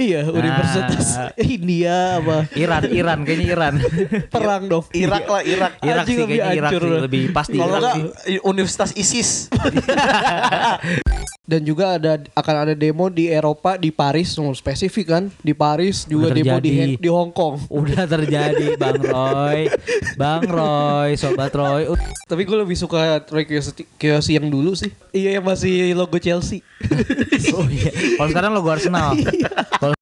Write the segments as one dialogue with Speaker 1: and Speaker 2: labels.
Speaker 1: Iya, Universitas India apa
Speaker 2: Iran, Iran kayaknya Iran.
Speaker 1: perang dong.
Speaker 3: Irak lah
Speaker 2: Iya.
Speaker 3: Irak
Speaker 2: Irak
Speaker 1: Anjing,
Speaker 2: sih
Speaker 1: lebih
Speaker 2: kayaknya Irak
Speaker 1: hancur
Speaker 2: sih
Speaker 1: loh.
Speaker 2: lebih pasti
Speaker 3: kalau
Speaker 2: Irak
Speaker 3: enggak
Speaker 2: sih.
Speaker 3: i- Universitas ISIS
Speaker 1: Dan juga ada akan ada demo di Eropa di Paris, oh, spesifik kan? Di Paris juga demo di
Speaker 2: Terjadi.
Speaker 1: di Hong Kong.
Speaker 2: Udah terjadi Bang Roy. Bang Roy, sobat Roy. Oh, Ut-
Speaker 1: Tapi gue lebih suka Roy Kiyoshi, Kiyoshi yang dulu sih. Iya yang masih logo Chelsea.
Speaker 2: Oh iya. Kalau sekarang logo Arsenal.
Speaker 1: Iya.
Speaker 2: Kalau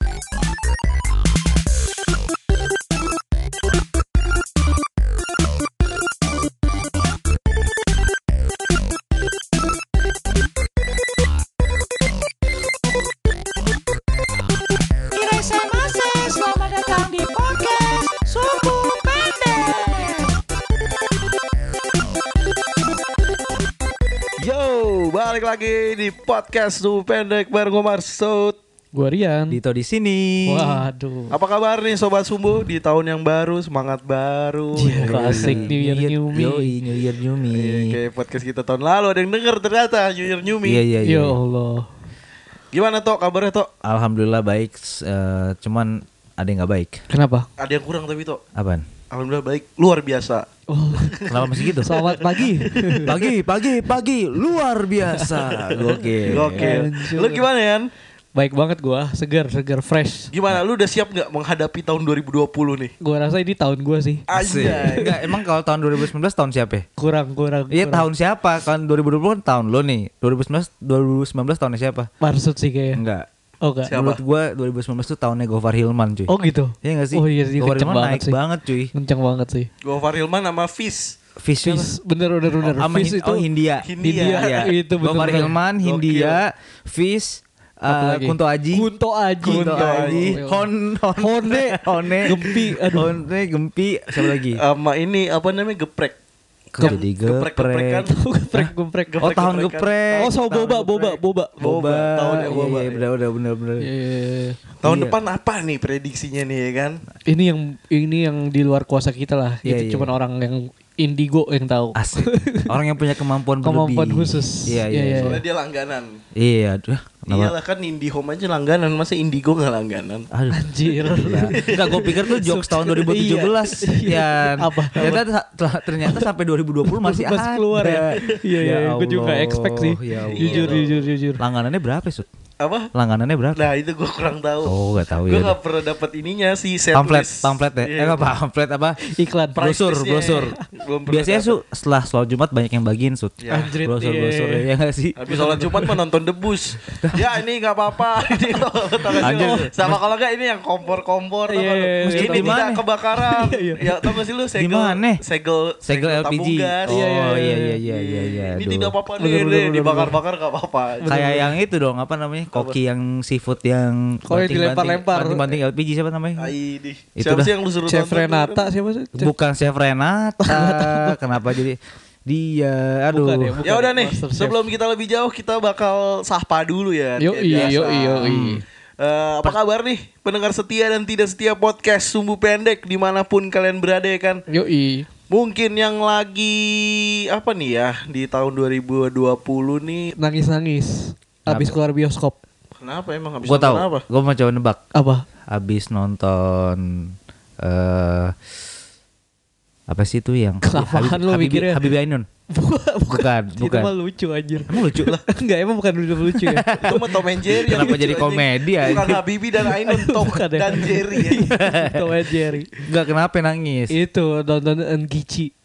Speaker 4: Irese Mase, selamat datang di podcast Suku Pendek.
Speaker 3: Yo balik lagi di podcast tuh pendek bareng Omar Sud
Speaker 1: gue Rian.
Speaker 2: Dito di sini.
Speaker 1: Waduh.
Speaker 3: apa kabar nih sobat sumbu di tahun yang baru semangat baru
Speaker 1: Iya.
Speaker 3: Ya.
Speaker 1: Klasik New Year, New Me. Iya,
Speaker 2: Yoi, New Year New Me.
Speaker 3: Kayak podcast kita tahun lalu ada yang denger ternyata New Year New Me.
Speaker 2: Iya iya
Speaker 1: Ya
Speaker 2: iya.
Speaker 1: Allah.
Speaker 3: Gimana Tok kabarnya Tok?
Speaker 2: Alhamdulillah baik. s- eh, cuman ada yang nggak baik.
Speaker 1: Kenapa?
Speaker 3: Ada yang kurang tapi Tok.
Speaker 2: Apaan?
Speaker 3: Alhamdulillah baik, luar biasa.
Speaker 1: Oh,
Speaker 2: Kenapa masih gitu?
Speaker 1: selamat pagi.
Speaker 2: Pagi, pagi, pagi, luar biasa. Gokil.
Speaker 3: Oke.
Speaker 1: Anjir.
Speaker 3: Lu gimana Yan?
Speaker 1: Baik banget gua, segar, segar, fresh.
Speaker 2: Nah.
Speaker 3: Gimana lu udah siap nggak menghadapi tahun 2020 nih?
Speaker 1: Gua rasa ini tahun gua sih.
Speaker 2: Asik.
Speaker 3: Anjay.
Speaker 2: Iya. Enggak, emang kalau tahun 2019 tahun siapa ya?
Speaker 1: Kurang, kurang.
Speaker 2: Iya
Speaker 1: kurang.
Speaker 2: tahun siapa? Kan 2020 kan tahun lo nih. 2019 2019 tahunnya siapa?
Speaker 1: Marsud sih kayaknya.
Speaker 2: Enggak.
Speaker 1: Oh enggak.
Speaker 3: Siapa?
Speaker 2: Menurut gua 2019 tuh tahunnya Gofar Hilman cuy.
Speaker 1: Oh gitu.
Speaker 2: Iya nggak sih?
Speaker 1: Oh iya sih,
Speaker 2: Gofar
Speaker 1: kenceng
Speaker 2: Hilman
Speaker 1: banget
Speaker 2: naik
Speaker 1: sih.
Speaker 2: banget cuy.
Speaker 1: Kenceng banget sih.
Speaker 3: Gofar Hilman sama Fis.
Speaker 2: Fish,
Speaker 1: Fis, bener bener bener.
Speaker 2: Sama
Speaker 1: Fis
Speaker 2: Hin-
Speaker 1: itu
Speaker 2: oh, Hindia.
Speaker 3: Hindia.
Speaker 2: Iya.
Speaker 1: itu bener.
Speaker 2: Gofar Hilman, Hindia, Fish,
Speaker 1: Satu
Speaker 2: eh,
Speaker 1: lagi.
Speaker 2: Kunto Aji.
Speaker 1: Kunto Aji.
Speaker 2: Kunto Aji, Hon, Hon-
Speaker 1: Hone.
Speaker 2: Hone,
Speaker 1: Gempi, aduh.
Speaker 2: Hone, Gempi, siapa lagi?
Speaker 3: Sama ini apa namanya? Geprek.
Speaker 2: Kok
Speaker 3: Eh, Yang
Speaker 2: jadi
Speaker 3: geprek-geprekan.
Speaker 1: geprek geprek.
Speaker 3: Geprek.
Speaker 2: Oh tahun
Speaker 3: geprek-geprekan.
Speaker 2: geprek.
Speaker 1: Oh, so
Speaker 2: Tahun
Speaker 1: boba, boba,
Speaker 2: geprek.
Speaker 1: boba.
Speaker 3: Boba, tahunnya
Speaker 2: Iya,
Speaker 3: boba,
Speaker 2: Iya,
Speaker 3: iya.
Speaker 2: bener, bener, bener, bener.
Speaker 1: Iya, iya, iya.
Speaker 3: Tahun
Speaker 2: Iya.
Speaker 3: depan apa nih prediksinya nih ya kan?
Speaker 1: Ini yang ini yang di luar kuasa kita lah.
Speaker 2: Iya, iya.
Speaker 1: itu cuman orang yang indigo yang tahu.
Speaker 2: Asik. Orang yang punya kemampuan berlebih.
Speaker 1: Kemampuan khusus.
Speaker 2: Iya, iya.
Speaker 1: Iya,
Speaker 3: Soalnya dia langganan.
Speaker 2: Iya, aduh. kenapa?
Speaker 3: Iyalah kan Indihome aja langganan, masa Indigo nggak langganan?
Speaker 2: Aduh.
Speaker 1: Anjir.
Speaker 2: Ya. Enggak, gue pikir tuh jokes tahun 2017 ya.
Speaker 1: Iya, Apa?
Speaker 2: Ternyata ternyata sampai 2020 masih
Speaker 1: Pas
Speaker 2: ada.
Speaker 1: keluar ya. Iya, iya, gue juga
Speaker 2: Allah,
Speaker 1: nggak expect sih.
Speaker 2: ya Allah.
Speaker 1: jujur, jujur, jujur.
Speaker 2: Langganannya berapa, Sud?
Speaker 3: Apa?
Speaker 2: Langganannya berapa?
Speaker 3: Nah itu gue kurang tahu.
Speaker 2: Oh, nggak tahu
Speaker 3: Gue
Speaker 2: ya.
Speaker 3: nggak pernah dapat ininya si set
Speaker 2: Pamflet,
Speaker 3: list.
Speaker 2: pamflet ya.
Speaker 3: Iya.
Speaker 2: Eh, apa pamflet apa?
Speaker 1: Iklan.
Speaker 3: Price
Speaker 2: Brosur,
Speaker 3: listnya.
Speaker 2: brosur.
Speaker 3: Belum pernah
Speaker 2: Biasanya
Speaker 3: dapet.
Speaker 2: su setelah sholat Jumat banyak yang bagiin, Sud.
Speaker 3: Ya.
Speaker 1: Anjrit,
Speaker 2: Brosur,
Speaker 1: iya.
Speaker 2: brosur ya enggak sih?
Speaker 3: Habis sholat Jumat menonton debus. ya ini nggak apa-apa. Ini kalau- tau nggak sih
Speaker 2: Anjir.
Speaker 3: lo? Sama kalau nggak ini yang kompor-kompor. tau nggak lo?
Speaker 1: Iya, iya,
Speaker 3: Ini
Speaker 2: iya. Di
Speaker 3: tidak
Speaker 2: mana?
Speaker 3: kebakaran.
Speaker 1: Iya, iya.
Speaker 3: Ya tau gak sih lu segel
Speaker 2: Gimana?
Speaker 3: segel
Speaker 2: Segel
Speaker 3: tabung
Speaker 2: LPG.
Speaker 3: gas.
Speaker 2: Oh,
Speaker 1: Iya, iya,
Speaker 2: iya,
Speaker 1: iya.
Speaker 2: iya, iya, iya, iya.
Speaker 3: Ini
Speaker 2: aduh.
Speaker 3: tidak apa-apa
Speaker 1: Bener,
Speaker 3: nih,
Speaker 1: bener,
Speaker 3: nih,
Speaker 1: bener,
Speaker 3: dibakar-bakar nggak apa-apa.
Speaker 2: Kayak yang itu dong apa namanya? Koki yang seafood yang
Speaker 1: Oh, yang
Speaker 2: banting-banting-
Speaker 1: dilempar-lempar.
Speaker 2: Banting-banting LPG siapa namanya?
Speaker 3: Ai, di.
Speaker 2: Itu
Speaker 3: Siapa
Speaker 2: dah.
Speaker 3: sih yang lu suruh
Speaker 1: Chef
Speaker 3: nonton?
Speaker 1: Renata siapa sih? Chef-
Speaker 2: Bukan Chef Renata. Kenapa jadi dia? Aduh.
Speaker 1: Bukan ya, bukan.
Speaker 3: Ya udah nih,
Speaker 1: Master Chef.
Speaker 3: sebelum kita lebih jauh kita bakal sapa dulu ya.
Speaker 1: Yoi,
Speaker 2: iya,
Speaker 3: kayak biasa.
Speaker 1: yoi, yoi.
Speaker 3: Hmm. Eh, apa kabar nih pendengar setia dan tidak setia podcast Sumbu Pendek dimanapun kalian berada ya kan?
Speaker 1: Yoi.
Speaker 3: Mungkin yang lagi apa nih ya di tahun 2020 nih
Speaker 1: Nangis-nangis. Habis keluar bioskop.
Speaker 3: kenapa emang habis
Speaker 2: Gue tahu.
Speaker 3: nonton apa?
Speaker 2: Gue mau coba nebak.
Speaker 1: Apa?
Speaker 2: Abis nonton eh apa sih itu yang
Speaker 1: Kelapaan lu mikirnya.
Speaker 2: Habibie Ainun. Bukan,
Speaker 1: Itu
Speaker 2: bukan.
Speaker 1: mah lucu anjir.
Speaker 2: Emang lucu?
Speaker 1: Enggak, emang bukan lucu ya.
Speaker 3: Itu mah Tom and Jerry yang
Speaker 2: Kenapa
Speaker 3: lucu,
Speaker 2: jadi
Speaker 3: anjing.
Speaker 2: komedi,
Speaker 3: Bukan
Speaker 2: anjing?
Speaker 3: Habibie dan Ainun Tom
Speaker 1: Bukan ya.
Speaker 3: dan Jerry ya.
Speaker 1: Tom and Jerry.
Speaker 2: Enggak kenapa nangis.
Speaker 1: Itu nonton Engici.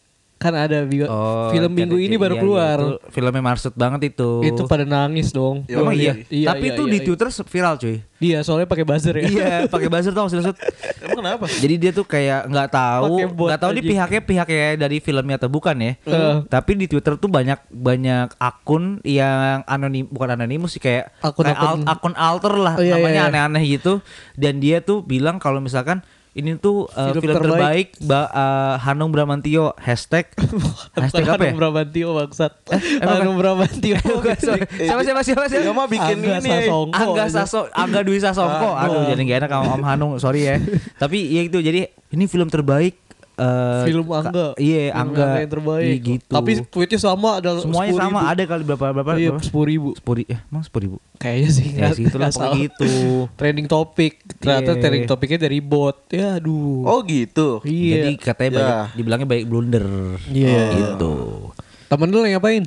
Speaker 1: Kan ada bio-
Speaker 2: Oh,
Speaker 1: film minggu
Speaker 2: jadi-
Speaker 1: ini baru
Speaker 2: iya, iya,
Speaker 1: keluar.
Speaker 2: itu filmnya Marsud banget itu.
Speaker 1: itu. pada nangis dong.
Speaker 3: Yo,
Speaker 2: Emang iya.
Speaker 1: Iya,
Speaker 2: Tapi
Speaker 1: iya,
Speaker 2: itu
Speaker 1: iya,
Speaker 2: di
Speaker 1: iya.
Speaker 2: Twitter viral cuy.
Speaker 1: Iya, soalnya pakai buzzer ya.
Speaker 2: iya, pakai buzzer tau maksudnya. Sud?
Speaker 3: Emang kenapa?
Speaker 2: Jadi dia tuh kayak nggak tahu,
Speaker 1: Pakai bot
Speaker 2: nggak tahu di
Speaker 1: aja.
Speaker 2: pihaknya pihaknya dari filmnya atau bukan ya.
Speaker 1: Heeh.
Speaker 2: Tapi di Twitter tuh banyak banyak akun yang anonim, bukan anonimus sih kayak
Speaker 1: Akun-
Speaker 2: kayak
Speaker 1: akun-
Speaker 2: al- akun alter lah,
Speaker 1: Oh, iya,
Speaker 2: namanya
Speaker 1: iya, iya.
Speaker 2: aneh-aneh gitu. Dan dia tuh bilang kalau misalkan ini tuh uh,
Speaker 1: Film
Speaker 2: film,
Speaker 1: terbaik.
Speaker 2: terbaik, Ba- uh, Hanung Bramantio hashtag hashtag apa ya? Eh,
Speaker 1: Hanung Bramantio bangsat.
Speaker 2: emang kan?
Speaker 1: Hanung Bramantio.
Speaker 2: Bukan, sorry. siapa siapa siapa siapa?
Speaker 3: Dia
Speaker 1: Iya,
Speaker 3: mah bikin
Speaker 1: Angga
Speaker 3: ini.
Speaker 1: Sasongko.
Speaker 2: Angga
Speaker 1: aja.
Speaker 2: Saso, Angga Dwi iya Sasongko. Aduh, jadi gak enak sama Om Hanung, sorry ya. Tapi ya itu jadi ini film terbaik eh,
Speaker 1: Film
Speaker 2: ka-
Speaker 1: Angga.
Speaker 2: Iya,
Speaker 1: Film
Speaker 2: Angga.
Speaker 1: yang terbaik.
Speaker 2: Iya, gitu.
Speaker 1: Tapi tweetnya sama ada
Speaker 2: semuanya
Speaker 1: 10.000.
Speaker 2: sama ada kali berapa berapa?
Speaker 1: Iya,
Speaker 2: berapa?
Speaker 1: 10.000.
Speaker 2: Sepuluh ri- eh, emang sepuluh ribu.
Speaker 1: Kayaknya sih
Speaker 2: Ya,
Speaker 1: nggak-
Speaker 2: segitulah,
Speaker 1: nggak
Speaker 2: pokoknya gitu.
Speaker 1: Trending topic. Ternyata
Speaker 2: Iya.
Speaker 1: trending topicnya dari bot. Ya aduh.
Speaker 3: Oh gitu.
Speaker 2: Jadi
Speaker 1: iya.
Speaker 2: katanya
Speaker 3: Ya.
Speaker 2: banyak dibilangnya banyak blunder.
Speaker 1: Iya.
Speaker 2: Gitu.
Speaker 1: Temen lu yang ngapain?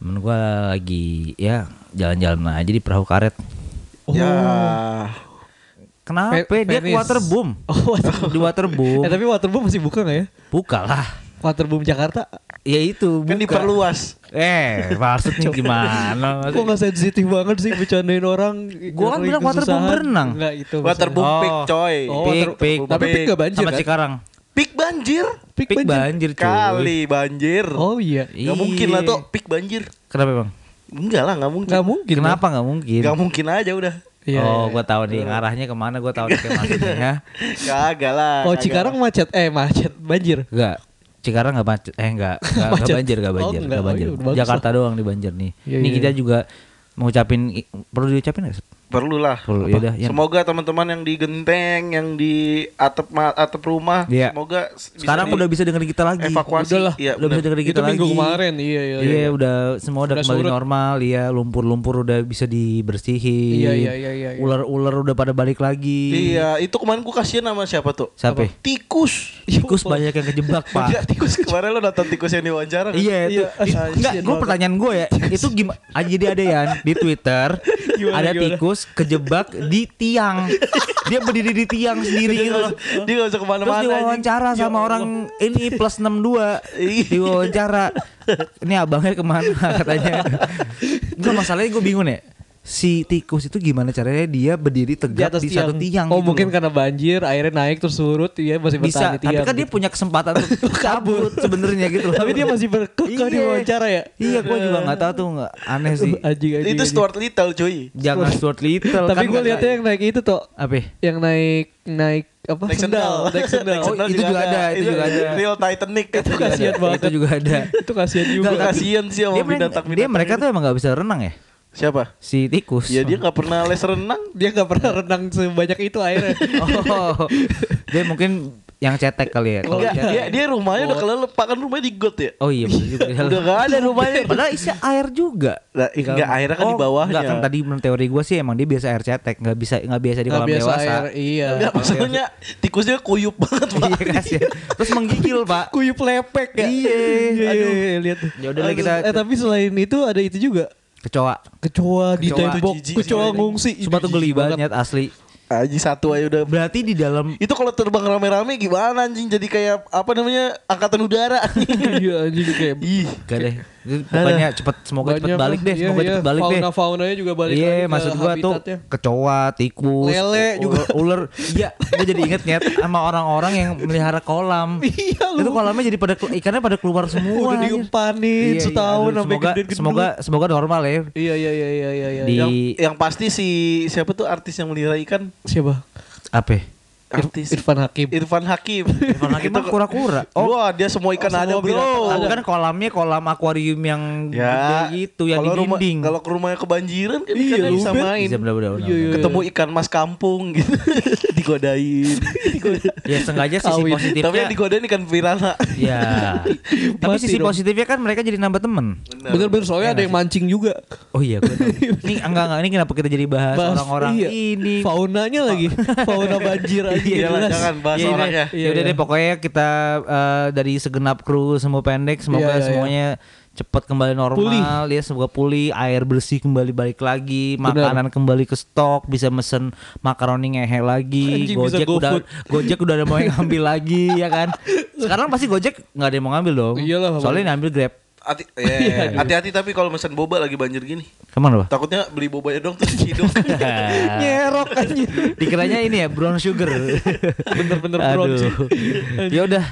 Speaker 2: Temen gua lagi ya jalan-jalan aja di perahu karet.
Speaker 1: Oh.
Speaker 3: Ya.
Speaker 2: Kenapa?
Speaker 1: Fe-
Speaker 2: Dia
Speaker 1: Venice.
Speaker 2: waterboom.
Speaker 1: Oh, waterboom.
Speaker 2: Di waterboom.
Speaker 1: Eh tapi Waterboom masih buka gak ya?
Speaker 2: Buka lah.
Speaker 1: Waterboom Jakarta
Speaker 2: Ya itu
Speaker 3: Kan
Speaker 2: buka.
Speaker 3: diperluas.
Speaker 2: Eh, maksudnya gimana?
Speaker 1: Kok gak sensitif banget sih bercandain orang
Speaker 2: Gua kan bilang waterboom
Speaker 1: kesusahan?
Speaker 2: berenang.
Speaker 1: Enggak itu
Speaker 3: Waterboom
Speaker 2: Oh.
Speaker 3: pick coy.
Speaker 1: Oh,
Speaker 2: Pik,
Speaker 1: water-
Speaker 2: pik.
Speaker 1: Tapi pik gak banjir
Speaker 2: Sama
Speaker 1: kan?
Speaker 2: Cikarang.
Speaker 3: Pick banjir.
Speaker 1: Pik
Speaker 2: Pik
Speaker 1: banjir.
Speaker 2: banjir cuy.
Speaker 3: Kali banjir.
Speaker 1: Oh iya
Speaker 3: Gak mungkin lah
Speaker 2: Iya.
Speaker 3: tuh pick banjir.
Speaker 2: Kenapa bang?
Speaker 3: Enggak lah, gak mungkin.
Speaker 1: Gak mungkin
Speaker 2: Kenapa nggak mungkin?
Speaker 3: Gak mungkin aja udah.
Speaker 1: Iya,
Speaker 2: oh,
Speaker 1: iya.
Speaker 2: gua tahu nih arahnya kemana? Gua tahu nih kemana ya.
Speaker 3: Kagak lah.
Speaker 1: Oh
Speaker 3: kagak.
Speaker 1: Cikarang macet Eh macet Banjir
Speaker 2: Enggak. Cikarang nggak macet, eh nggak nggak nggak
Speaker 1: Macet.
Speaker 2: banjir, nggak
Speaker 1: Oh,
Speaker 2: banjir,
Speaker 1: nggak.
Speaker 2: nggak banjir.
Speaker 1: Oh, iya, bagus
Speaker 2: Jakarta doang di banjir nih.
Speaker 1: Iya,
Speaker 2: ini
Speaker 1: iya.
Speaker 2: kita juga mengucapin i- perlu diucapin nggak?
Speaker 3: Perlu lah.
Speaker 2: Perlu ya udah. yang-
Speaker 3: Semoga teman-teman yang di genteng, yang di atap ma- atap rumah,
Speaker 2: Iya.
Speaker 3: semoga s- bisa
Speaker 2: Sekarang
Speaker 3: di-
Speaker 2: udah bisa dengerin kita lagi.
Speaker 3: evakuasi.
Speaker 1: Udah lah.
Speaker 3: Iya,
Speaker 2: udah bisa
Speaker 3: benar.
Speaker 2: dengerin
Speaker 1: Itu
Speaker 2: kita lagi.
Speaker 1: minggu kemarin Iya iya
Speaker 2: Iya, udah semua udah,
Speaker 1: Udah
Speaker 2: kembali
Speaker 1: surut.
Speaker 2: normal, ya lumpur-lumpur udah bisa dibersihin.
Speaker 1: Iya, iya, iya, iya, iya.
Speaker 2: Ular-ular udah pada balik lagi.
Speaker 3: Iya, itu kemarin gue kasihan sama siapa tuh?
Speaker 2: Siapa?
Speaker 3: Tikus.
Speaker 2: Tikus banyak yang kejebak, Pak.
Speaker 3: Iya, tikus kemarin lo nonton tikus yang diwawancara kan?
Speaker 2: Iya itu.
Speaker 1: Iya, iya.
Speaker 2: Enggak,
Speaker 1: Iya,
Speaker 2: gue
Speaker 1: iya.
Speaker 2: pertanyaan gue ya, itu gimana? Ah, jadi ada ya di Twitter
Speaker 1: Gimana,
Speaker 2: ada
Speaker 1: gimana?
Speaker 2: tikus kejebak di tiang. Dia berdiri di tiang sendiri
Speaker 3: Dia
Speaker 2: gitu.
Speaker 3: nggak- Dia gak usah
Speaker 2: Terus
Speaker 3: kemana-mana
Speaker 2: diwawancara
Speaker 1: Ya
Speaker 2: sama orang ini plus 62
Speaker 1: Iya.
Speaker 2: diwawancara. Ini abangnya kemana katanya? Enggak masalahnya gue bingung ya. Si tikus itu gimana caranya dia berdiri
Speaker 1: Di
Speaker 2: tegak
Speaker 1: atas
Speaker 2: di,
Speaker 1: tiang
Speaker 2: satu tiang?
Speaker 1: Oh
Speaker 2: gitu
Speaker 1: mungkin
Speaker 2: loh.
Speaker 1: karena banjir Airnya naik terus surut Iya masih
Speaker 2: bisa.
Speaker 1: bertahan di tiang
Speaker 2: Tapi kan dia
Speaker 1: gitu.
Speaker 2: punya kesempatan untuk kabur sebenarnya gitu loh.
Speaker 1: Tapi dia masih berkekeh di
Speaker 2: Iya.
Speaker 1: wawancara ya
Speaker 2: Iya, gue juga nggak tahu tuh nggak aneh
Speaker 1: Anjing
Speaker 2: sih. iya,
Speaker 1: anjing
Speaker 3: Itu
Speaker 1: anjing.
Speaker 3: Stuart Little cuy
Speaker 2: Jangan Stuart Little.
Speaker 1: Tapi
Speaker 2: kan
Speaker 1: gue
Speaker 2: nggak-
Speaker 1: liatnya yang naik itu tuh
Speaker 2: apa? ya?
Speaker 1: Yang naik Naik apa
Speaker 3: Naik sendal
Speaker 1: Naik sendal
Speaker 2: Oh, itu juga ada, itu juga ada.
Speaker 3: Real Titanic
Speaker 1: Itu kasihan
Speaker 2: ada,
Speaker 1: banget
Speaker 2: itu juga ada.
Speaker 1: Itu kasihan juga
Speaker 3: Nggak, kasihan sih sama
Speaker 2: Dia, mereka-
Speaker 3: binatang-binatang
Speaker 2: dia
Speaker 1: gitu.
Speaker 2: mereka tuh emang nggak bisa renang ya?
Speaker 3: Siapa?
Speaker 2: Si tikus.
Speaker 1: Iya,
Speaker 3: Ya dia gak pernah les renang
Speaker 1: Dia gak pernah renang sebanyak itu airnya
Speaker 2: Oh, dia mungkin yang cetek kali ya. Kalau
Speaker 3: Enggak,
Speaker 2: cetek-
Speaker 3: dia, dia rumahnya udah kelelep Kan rumahnya di got ya
Speaker 2: Oh iya, bener juga.
Speaker 3: Udah gak ada rumahnya
Speaker 2: Padahal isi air juga.
Speaker 3: Lah, ih, enggak, airnya kan di bawahnya.
Speaker 2: Enggak kan tadi menurut teori gue sih emang dia biasa air cetek, nggak bisa nggak biasa di
Speaker 1: Nggak
Speaker 2: kolam
Speaker 1: Nah, biasa
Speaker 2: dewasa.
Speaker 1: air, iya.
Speaker 3: Enggak maksudnya tikusnya kuyup banget pak
Speaker 2: Iya kasihan. Terus menggigil pak.
Speaker 1: Kuyup lepek ya
Speaker 2: Iya,
Speaker 1: Aduh
Speaker 2: aduh.
Speaker 1: lihat.
Speaker 2: Ya udahlah kita
Speaker 1: Eh tapi selain itu ada itu juga
Speaker 2: kecoa.
Speaker 1: Kecoa di
Speaker 2: Kecoa.
Speaker 1: tembok
Speaker 3: Itu jijik
Speaker 1: Kecoa
Speaker 3: sih.
Speaker 1: ngungsi
Speaker 2: Cuma tuh geli
Speaker 1: banget.
Speaker 2: banget asli.
Speaker 3: Aji satu aja udah
Speaker 2: Berarti di dalam
Speaker 3: Itu kalau terbang rame-rame gimana anjing Jadi kayak apa namanya Angkatan udara
Speaker 1: Iya anjing kayak
Speaker 3: Ih
Speaker 2: Gak deh Itu Pokoknya cepet Semoga cepet
Speaker 1: banyak
Speaker 2: balik
Speaker 1: lah.
Speaker 2: deh
Speaker 1: Iya,
Speaker 2: Semoga
Speaker 1: iya.
Speaker 2: cepet balik deh
Speaker 1: Fauna-faunanya juga balik
Speaker 2: Iya
Speaker 1: lagi ke
Speaker 2: maksud gua tuh
Speaker 1: habitatnya.
Speaker 2: Kecoa Tikus
Speaker 1: Lele
Speaker 2: u-
Speaker 1: juga.
Speaker 2: Ular Iya Gue jadi inget nyet Sama orang-orang yang melihara kolam
Speaker 1: Iya, lu.
Speaker 2: Itu kolamnya jadi pada kelu- Ikannya pada keluar semua
Speaker 1: Udah
Speaker 2: anjir.
Speaker 1: diumpanin
Speaker 2: Iya, iya,
Speaker 1: setahun
Speaker 2: aduh,
Speaker 1: sampai
Speaker 2: Semoga
Speaker 1: gede-gede.
Speaker 2: Semoga Semoga normal ya
Speaker 1: Iya iya iya iya iya iya.
Speaker 2: Di
Speaker 3: yang, yang pasti si siapa tuh artis yang melihara ikan
Speaker 1: siapa?
Speaker 2: Apa ya?
Speaker 3: artis
Speaker 1: Irfan Hakim.
Speaker 3: Irfan Hakim
Speaker 2: Irfan Hakim
Speaker 3: Itu-
Speaker 2: mah kura-kura.
Speaker 3: Oh, Wah, dia semua ikan ada
Speaker 1: semua
Speaker 3: bro.
Speaker 1: binatang
Speaker 2: Ada kan kolamnya kolam akuarium yang
Speaker 3: Ya,
Speaker 2: gede gitu yang di
Speaker 3: kalau rumah-
Speaker 2: dinding.
Speaker 3: Kalau ke rumahnya kebanjiran kan
Speaker 1: Iya,
Speaker 3: ikannya bisa
Speaker 1: Ruben.
Speaker 3: main.
Speaker 2: Bisa bener-bener.
Speaker 1: Iya, iya.
Speaker 3: Ketemu ikan mas kampung gitu. digodain.
Speaker 2: Ya sengaja sisi
Speaker 1: Kawin.
Speaker 2: positifnya.
Speaker 3: Tapi yang digodain ikan piranha.
Speaker 2: Ya. Tapi
Speaker 1: Mati
Speaker 2: sisi
Speaker 1: dong.
Speaker 2: positifnya kan mereka jadi nambah temen.
Speaker 3: iya.
Speaker 1: Bener bener soalnya ada yang mancing juga.
Speaker 2: Oh iya, gue tahu. ini enggak enggak ini kenapa kita jadi bahas
Speaker 1: Bahas-
Speaker 2: orang-orang
Speaker 1: iya.
Speaker 2: ini?
Speaker 1: Faunanya lagi. Fauna banjir aja.
Speaker 3: Iya lah,
Speaker 1: jelas.
Speaker 3: jangan bahas
Speaker 2: Iya,
Speaker 3: orangnya.
Speaker 2: deh. Yaudah
Speaker 1: Iya,
Speaker 2: deh pokoknya kita eh, dari segenap kru semua pendek semoga
Speaker 1: Iya, iya, iya.
Speaker 2: semuanya cepat kembali normal
Speaker 1: Pulih.
Speaker 2: ya semoga pulih air bersih kembali balik lagi
Speaker 1: Benar.
Speaker 2: makanan kembali ke stok bisa mesen makaroni ngehe
Speaker 1: Anjing,
Speaker 2: lagi
Speaker 1: bisa
Speaker 2: gojek udah
Speaker 1: GoFood.
Speaker 2: gojek udah ada mau yang ngambil lagi ya kan sekarang pasti gojek nggak ada yang mau ngambil dong
Speaker 1: Iyalah, Bang.
Speaker 2: soalnya yang ngambil grab
Speaker 3: Hati, ya, ya, ya. Hati-hati tapi kalau mesen boba lagi banjir gini.
Speaker 2: kemana pak
Speaker 3: Takutnya beli bobanya dong terus hidung.
Speaker 1: Nyerok anjir.
Speaker 2: Dikiranya ini ya brown sugar.
Speaker 1: Bener-bener brown
Speaker 2: Aduh.
Speaker 1: sugar.
Speaker 2: Ya udah.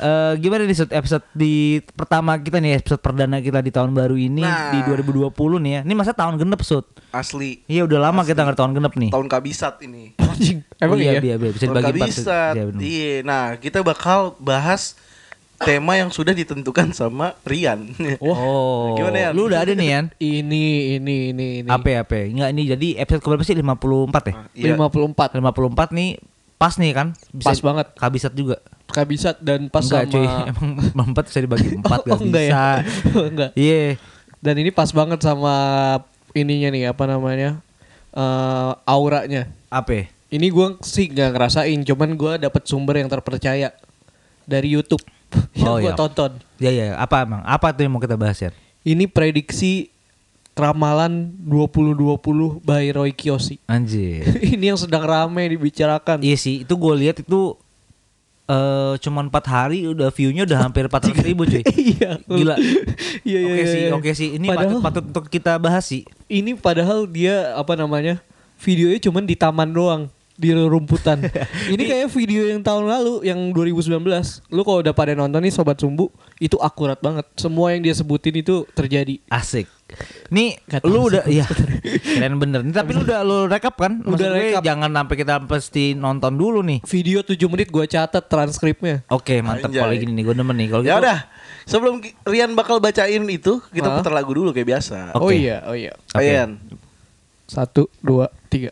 Speaker 2: Eh, gimana nih Sud, episode di pertama kita nih episode perdana kita di tahun baru ini
Speaker 3: Nah.
Speaker 2: di 2020 nih ya. Ini masa tahun genep Sud.
Speaker 3: Asli.
Speaker 2: Iya udah lama kita nggak tahun genep nih.
Speaker 3: Tahun kabisat ini.
Speaker 1: Anjing. Emang
Speaker 2: Oh,
Speaker 1: iya.
Speaker 2: iya, iya, bisa
Speaker 3: Tahun
Speaker 2: dibagi empat. Sud.
Speaker 3: kabisat.
Speaker 2: Iya, bener.
Speaker 3: Iya. Nah, kita bakal bahas tema yang sudah ditentukan sama Rian.
Speaker 2: Oh.
Speaker 3: Gimana, Yan?
Speaker 2: Lu udah ada nih Yan.
Speaker 1: Ini ini ini ya? ini.
Speaker 2: Apa apa? Enggak ini jadi episode keberapa sih 54 ya?
Speaker 3: Iya.
Speaker 1: 54.
Speaker 2: 54 nih pas nih kan
Speaker 1: Ah. Pas banget.
Speaker 2: kabisat juga
Speaker 1: kabisat dan pas
Speaker 2: enggak
Speaker 1: sama
Speaker 2: cuy, emang mampet bisa dibagi empat
Speaker 1: Oh,
Speaker 2: gak
Speaker 1: enggak ya?
Speaker 2: bisa.
Speaker 1: Enggak.
Speaker 2: Iya.
Speaker 1: dan ini pas banget sama ininya nih apa namanya eh auranya
Speaker 2: Apa? ya?
Speaker 1: ini gua sih nggak ngerasain cuman gua dapet sumber yang terpercaya dari YouTube yang
Speaker 2: Oh,
Speaker 1: gua
Speaker 2: iya.
Speaker 1: tonton
Speaker 2: Ya ya, apa emang? Apa tuh yang mau kita bahas ya?
Speaker 1: ini prediksi ramalan 2020 by Roy Kiyoshi
Speaker 2: Anjir.
Speaker 1: ini yang sedang rame dibicarakan
Speaker 2: Iya sih, itu gue lihat itu eh cuman 4 hari udah view-nya udah hampir 400 ribu cuy.
Speaker 1: iya
Speaker 2: Gila.
Speaker 1: iya iya
Speaker 2: oke
Speaker 1: iya,
Speaker 2: sih,
Speaker 1: iya.
Speaker 2: oke sih. Ini
Speaker 1: Padahal-
Speaker 2: patut, patut untuk kita bahas sih.
Speaker 1: ini padahal dia apa namanya videonya cuman di taman doang di rumputan ini kayak video yang tahun lalu yang 2019 lu kalau udah pada nonton nih sobat sumbu itu akurat banget semua yang dia sebutin itu terjadi
Speaker 2: Asik. Nih,
Speaker 1: Gak
Speaker 2: lu
Speaker 1: tahu
Speaker 2: udah ya keren bener. Nih, tapi lu udah lu rekap kan? Maksud
Speaker 1: Udah
Speaker 2: gue
Speaker 1: rekap.
Speaker 2: Jangan sampai kita pasti nonton dulu nih.
Speaker 1: video 7 menit gua catat transkripnya
Speaker 2: Oke, mantap
Speaker 3: Anjay.
Speaker 2: kalau gini nih, gue demen nih. Kalau gitu,
Speaker 3: Ya udah, sebelum Ki- Rian bakal bacain itu, kita putar lagu dulu kayak biasa.
Speaker 2: Oke.
Speaker 1: oh iya oh iya
Speaker 2: Oke.
Speaker 3: Rian,
Speaker 1: satu dua tiga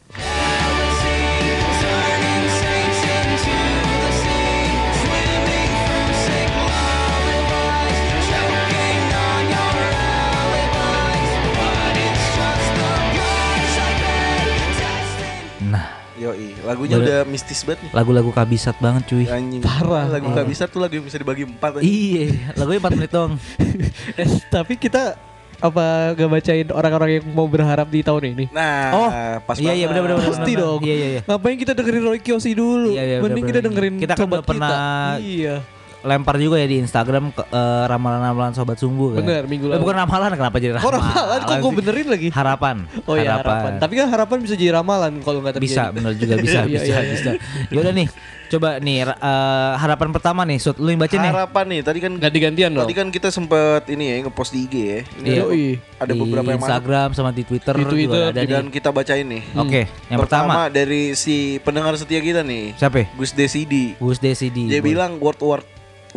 Speaker 2: Nah,
Speaker 3: yoi, lagunya
Speaker 2: Boleh.
Speaker 3: udah mistis banget nih.
Speaker 2: lagu-lagu kabisat banget cuy.
Speaker 3: Anjing.
Speaker 1: Parah.
Speaker 3: Lagu nggak bisa tuh lagu yang bisa dibagi empat. anjing.
Speaker 2: Iya, lagunya 4 menit doang.
Speaker 1: Eh, tapi kita apa gak bacain orang-orang yang mau berharap di tahun ini
Speaker 3: Nah,
Speaker 2: Oh,
Speaker 3: pas
Speaker 2: iya, iya,
Speaker 3: banget.
Speaker 2: bener-bener.
Speaker 1: Nah, Pasti
Speaker 2: benar.
Speaker 1: dong.
Speaker 2: Iya, iya, iya.
Speaker 1: Ngapain kita dengerin Roy Kiyoshi dulu?
Speaker 2: Iya, iya,
Speaker 1: Mending
Speaker 2: benar-benar.
Speaker 1: kita dengerin
Speaker 2: Kita kan
Speaker 1: sobat
Speaker 2: udah pernah
Speaker 1: Iya.
Speaker 2: Lempar juga ya di Instagram ke- eh, ramalan-ramalan sobat sumbu kan.
Speaker 1: Bener, minggu
Speaker 2: Eh,
Speaker 1: lalu.
Speaker 2: bukan ramalan kenapa jadi
Speaker 1: Oh,
Speaker 2: ramalan?
Speaker 1: ramalan kok gue
Speaker 2: sih?
Speaker 1: benerin lagi?
Speaker 2: Harapan.
Speaker 1: Oh iya harapan. Tapi kan harapan bisa jadi ramalan kalau nggak terjadi.
Speaker 2: bisa bener juga bisa
Speaker 1: Iya,
Speaker 2: bisa
Speaker 1: iya, iya.
Speaker 2: bisa. Yaudah nih, coba nih ra- eh, harapan pertama nih, Sud, lu yang baca nih.
Speaker 3: Harapan nih, tadi kan
Speaker 1: Ganti-gantian dong.
Speaker 3: tadi kan kita sempet ini ya ngepost di IG ya.
Speaker 1: Iya.
Speaker 3: Ini ada-
Speaker 1: Yoi.
Speaker 3: ada
Speaker 2: di
Speaker 3: beberapa yang masuk
Speaker 2: Instagram sama di Twitter,
Speaker 1: Di Hmm, Twitter,
Speaker 2: juga ada nih.
Speaker 3: dan kita bacain nih.
Speaker 1: Oh,
Speaker 2: Oke, yang pertama,
Speaker 3: dari si pendengar setia kita nih.
Speaker 2: siapa? ya?
Speaker 3: Gus Desidi.
Speaker 2: Gus Desidi.
Speaker 3: Dia bilang World War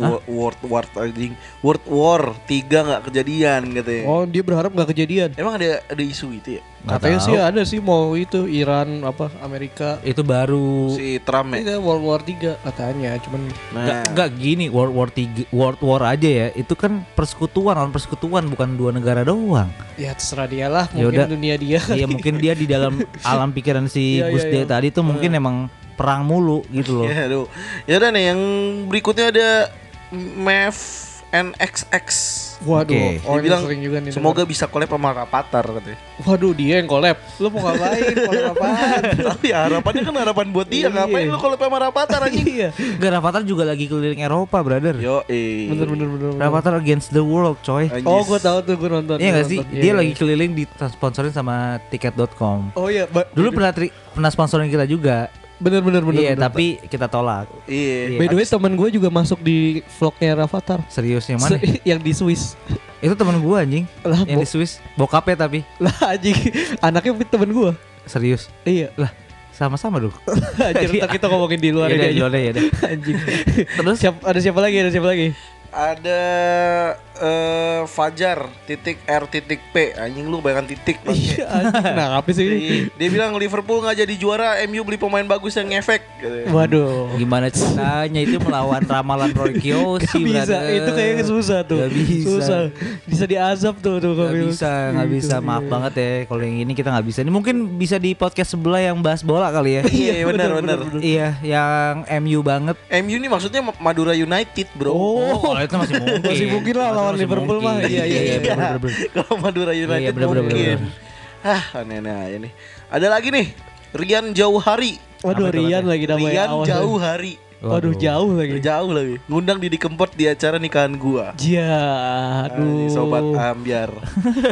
Speaker 3: Wo- World War anjing. World War 3 nggak kejadian katanya.
Speaker 1: Oh, dia berharap nggak kejadian.
Speaker 3: Emang ada ada isu itu ya?
Speaker 2: Nggak
Speaker 1: Katanya
Speaker 2: tahu.
Speaker 1: sih ada sih mau itu Iran apa Amerika.
Speaker 2: itu baru
Speaker 3: Si Trump ya. Nah,
Speaker 1: Ini kan World War 3 katanya, cuman
Speaker 2: Nggak,
Speaker 1: Nah.
Speaker 2: nggak gini World War 3, World War aja ya. Itu kan persekutuan, lawan persekutuan bukan dua negara doang.
Speaker 1: ya terserah dia lah,
Speaker 2: Ya
Speaker 1: mungkin
Speaker 2: udah.
Speaker 1: dunia dia.
Speaker 2: Iya, mungkin dia di dalam alam pikiran si
Speaker 1: Iya,
Speaker 2: Gus
Speaker 1: iya,
Speaker 2: De
Speaker 1: iya.
Speaker 2: tadi tuh mungkin emang perang mulu gitu loh.
Speaker 3: Ya, aduh. Ya udah nih yang berikutnya ada Mev NXX.
Speaker 1: Waduh,
Speaker 2: Oke.
Speaker 1: oh ini
Speaker 3: Dia bilang
Speaker 1: sering juga nih.
Speaker 3: semoga bisa collab sama Rapatar katanya.
Speaker 1: denger. Waduh, dia yang collab. Lu mau ngapain? collab apaan?
Speaker 3: Tapi harapannya kan harapan buat dia,
Speaker 1: Iya.
Speaker 3: ngapain lu collab sama Rapatar anjing?
Speaker 1: iya.
Speaker 2: Gak Rafathar juga lagi keliling Eropa, brother.
Speaker 3: Yo, eh.
Speaker 1: Bener bener bener. bener.
Speaker 2: Rafathar against the world, coy.
Speaker 3: Anjis.
Speaker 1: Oh, gue tahu tuh gue nonton.
Speaker 2: Iya
Speaker 1: gua
Speaker 2: gak sih?
Speaker 1: nonton.
Speaker 2: Dia
Speaker 1: Iya,
Speaker 2: lagi
Speaker 1: iya.
Speaker 2: keliling disponsorin sama tiket.com.
Speaker 1: Oh iya, ba-
Speaker 2: Dulu pernah tri- pernah sponsorin kita juga.
Speaker 1: bener bener bener.
Speaker 2: Iya,
Speaker 1: bener.
Speaker 2: tapi kita tolak.
Speaker 3: Iya.
Speaker 1: By the way temen gue juga masuk di vlognya Rafathar
Speaker 2: Serius yang mana?
Speaker 1: Se- Yang di Swiss
Speaker 2: Itu teman gua anjing.
Speaker 1: Lah, bo-
Speaker 2: yang di Swiss. Bokapnya tapi
Speaker 1: Lah anjing Anaknya temen gue
Speaker 2: serius.
Speaker 1: Iya
Speaker 2: Lah, sama-sama dong.
Speaker 1: Anjir ntar kita ngomongin di luar ini
Speaker 2: Yaudah,
Speaker 1: aja
Speaker 2: yaudah, yaudah.
Speaker 1: Anjing
Speaker 2: Terus?
Speaker 1: Siap, Ada siapa lagi Ada siapa lagi
Speaker 3: Ada eh, Fajar titik R titik P. Anjing lu bayangkan titik. Bang.
Speaker 1: Iya anjing Nah apa sih ini?
Speaker 3: Iya. Dia bilang Liverpool nggak jadi juara, MU beli pemain bagus yang ngefek. katanya.
Speaker 1: Waduh
Speaker 2: Gimana ceritanya itu melawan ramalan Roy
Speaker 1: Gak
Speaker 2: Kiyoshi
Speaker 1: bisa
Speaker 2: brother.
Speaker 1: Itu kayaknya susah tuh
Speaker 2: Gak bisa.
Speaker 1: Susah Bisa diazab tuh, tuh
Speaker 2: Gak
Speaker 1: kalau-
Speaker 2: bisa, gak
Speaker 1: Gitu,
Speaker 2: bisa. Maaf banget ya kalau yang ini kita gak bisa. Ini mungkin bisa di podcast sebelah yang bahas bola kali ya.
Speaker 3: Iya, benar benar.
Speaker 2: Iya, yang MU banget.
Speaker 3: MU ini maksudnya Madura United, Bro.
Speaker 1: Oh,
Speaker 2: kalau itu masih mungkin.
Speaker 1: Masih mungkin lah
Speaker 2: Kalau itu
Speaker 1: lawan
Speaker 2: masih
Speaker 1: Liverpool
Speaker 2: mungkin.
Speaker 1: mah. Iya, iya,
Speaker 2: iya.
Speaker 1: iya.
Speaker 2: bener, bener, bener.
Speaker 3: Kalau Madura United
Speaker 2: Iya, bener, bener,
Speaker 3: mungkin.
Speaker 2: bener.
Speaker 3: Hah, aneh-aneh aja nih. Ada lagi nih, Rian Jauh Hari.
Speaker 1: Waduh
Speaker 2: Apa itu
Speaker 1: Rian lagi namanya
Speaker 3: Rian
Speaker 1: awas.
Speaker 3: Jauh Hari.
Speaker 1: Waduh jauh lagi
Speaker 3: Jauh lagi. Ngundang Didi Kempot di acara nikahan gua.
Speaker 1: Ya, aduh.
Speaker 3: Aduh. Sobat ah. Ambiar.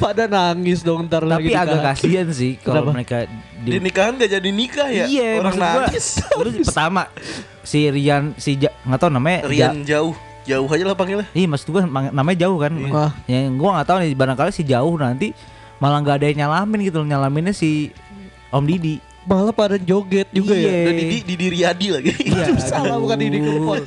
Speaker 1: Pada nangis dong ntar lagi.
Speaker 2: Tapi agak
Speaker 1: ditahan.
Speaker 2: kasihan sih kalau
Speaker 1: Kenapa?
Speaker 2: mereka di
Speaker 3: Di nikahan gak jadi nikah ya?
Speaker 2: Iya,
Speaker 3: Orang
Speaker 2: maksud gua,
Speaker 3: nangis.
Speaker 2: Lu pertama si Rian si ja, nggak tahu namanya Eh, Ja-
Speaker 3: Rian Jauh. Jauh aja lah panggilnya.
Speaker 2: Iya maksud gue namanya jauh kan
Speaker 1: Iya.
Speaker 2: Yang gue gak tahu nih barangkali si jauh nanti Malah gak ada yang nyalamin gitu loh Nyalaminnya si Om Didi
Speaker 1: Malah pada joget juga
Speaker 2: Iya.
Speaker 1: ya.
Speaker 3: Dan Didi, Didi Riyadi lagi.
Speaker 1: Iya, salah
Speaker 2: aduh.
Speaker 1: bukan ini dikempot.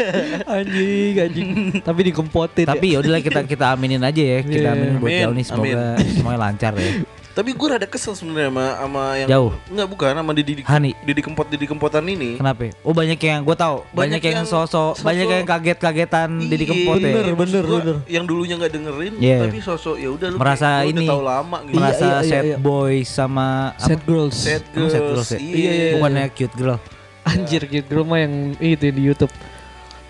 Speaker 1: Anjing, anjing. Tapi ya. dikempotin.
Speaker 2: Tapi yaudahlah kita kita aminin aja ya Kita
Speaker 1: Iya,
Speaker 2: aminin buat
Speaker 3: amin,
Speaker 2: jauh nih semoga semuanya lancar ya
Speaker 3: Tapi gue rada kesel sebenarnya sama, sama yang
Speaker 2: Jauh.
Speaker 3: Enggak bukan sama Didi
Speaker 2: Hani.
Speaker 3: Didi Kempot Didi Kempotan ini.
Speaker 2: Kenapa? Oh banyak yang gue tahu, banyak,
Speaker 3: Banyak
Speaker 2: yang
Speaker 3: yang
Speaker 2: sosok,
Speaker 3: sosok- Iya,
Speaker 2: banyak yang kaget-kagetan Didi Kempot ya.
Speaker 1: Bener,
Speaker 3: Maksud
Speaker 1: bener,
Speaker 3: gua
Speaker 1: bener.
Speaker 3: Yang dulunya nggak dengerin,
Speaker 2: Iya.
Speaker 3: tapi sosok ya udah lu
Speaker 2: Merasa
Speaker 3: kayak, lu
Speaker 2: ini.
Speaker 3: udah tahu lama gitu.
Speaker 1: Iya,
Speaker 2: Merasa
Speaker 1: iya,
Speaker 2: sad
Speaker 1: iya.
Speaker 2: boy sama
Speaker 1: Sad girls.
Speaker 3: Sad
Speaker 2: Emang
Speaker 3: girls.
Speaker 2: sad girls ya?
Speaker 3: Iya, iya.
Speaker 2: Bukannya cute girl.
Speaker 1: Anjir gitu girl mah yang itu yang di YouTube.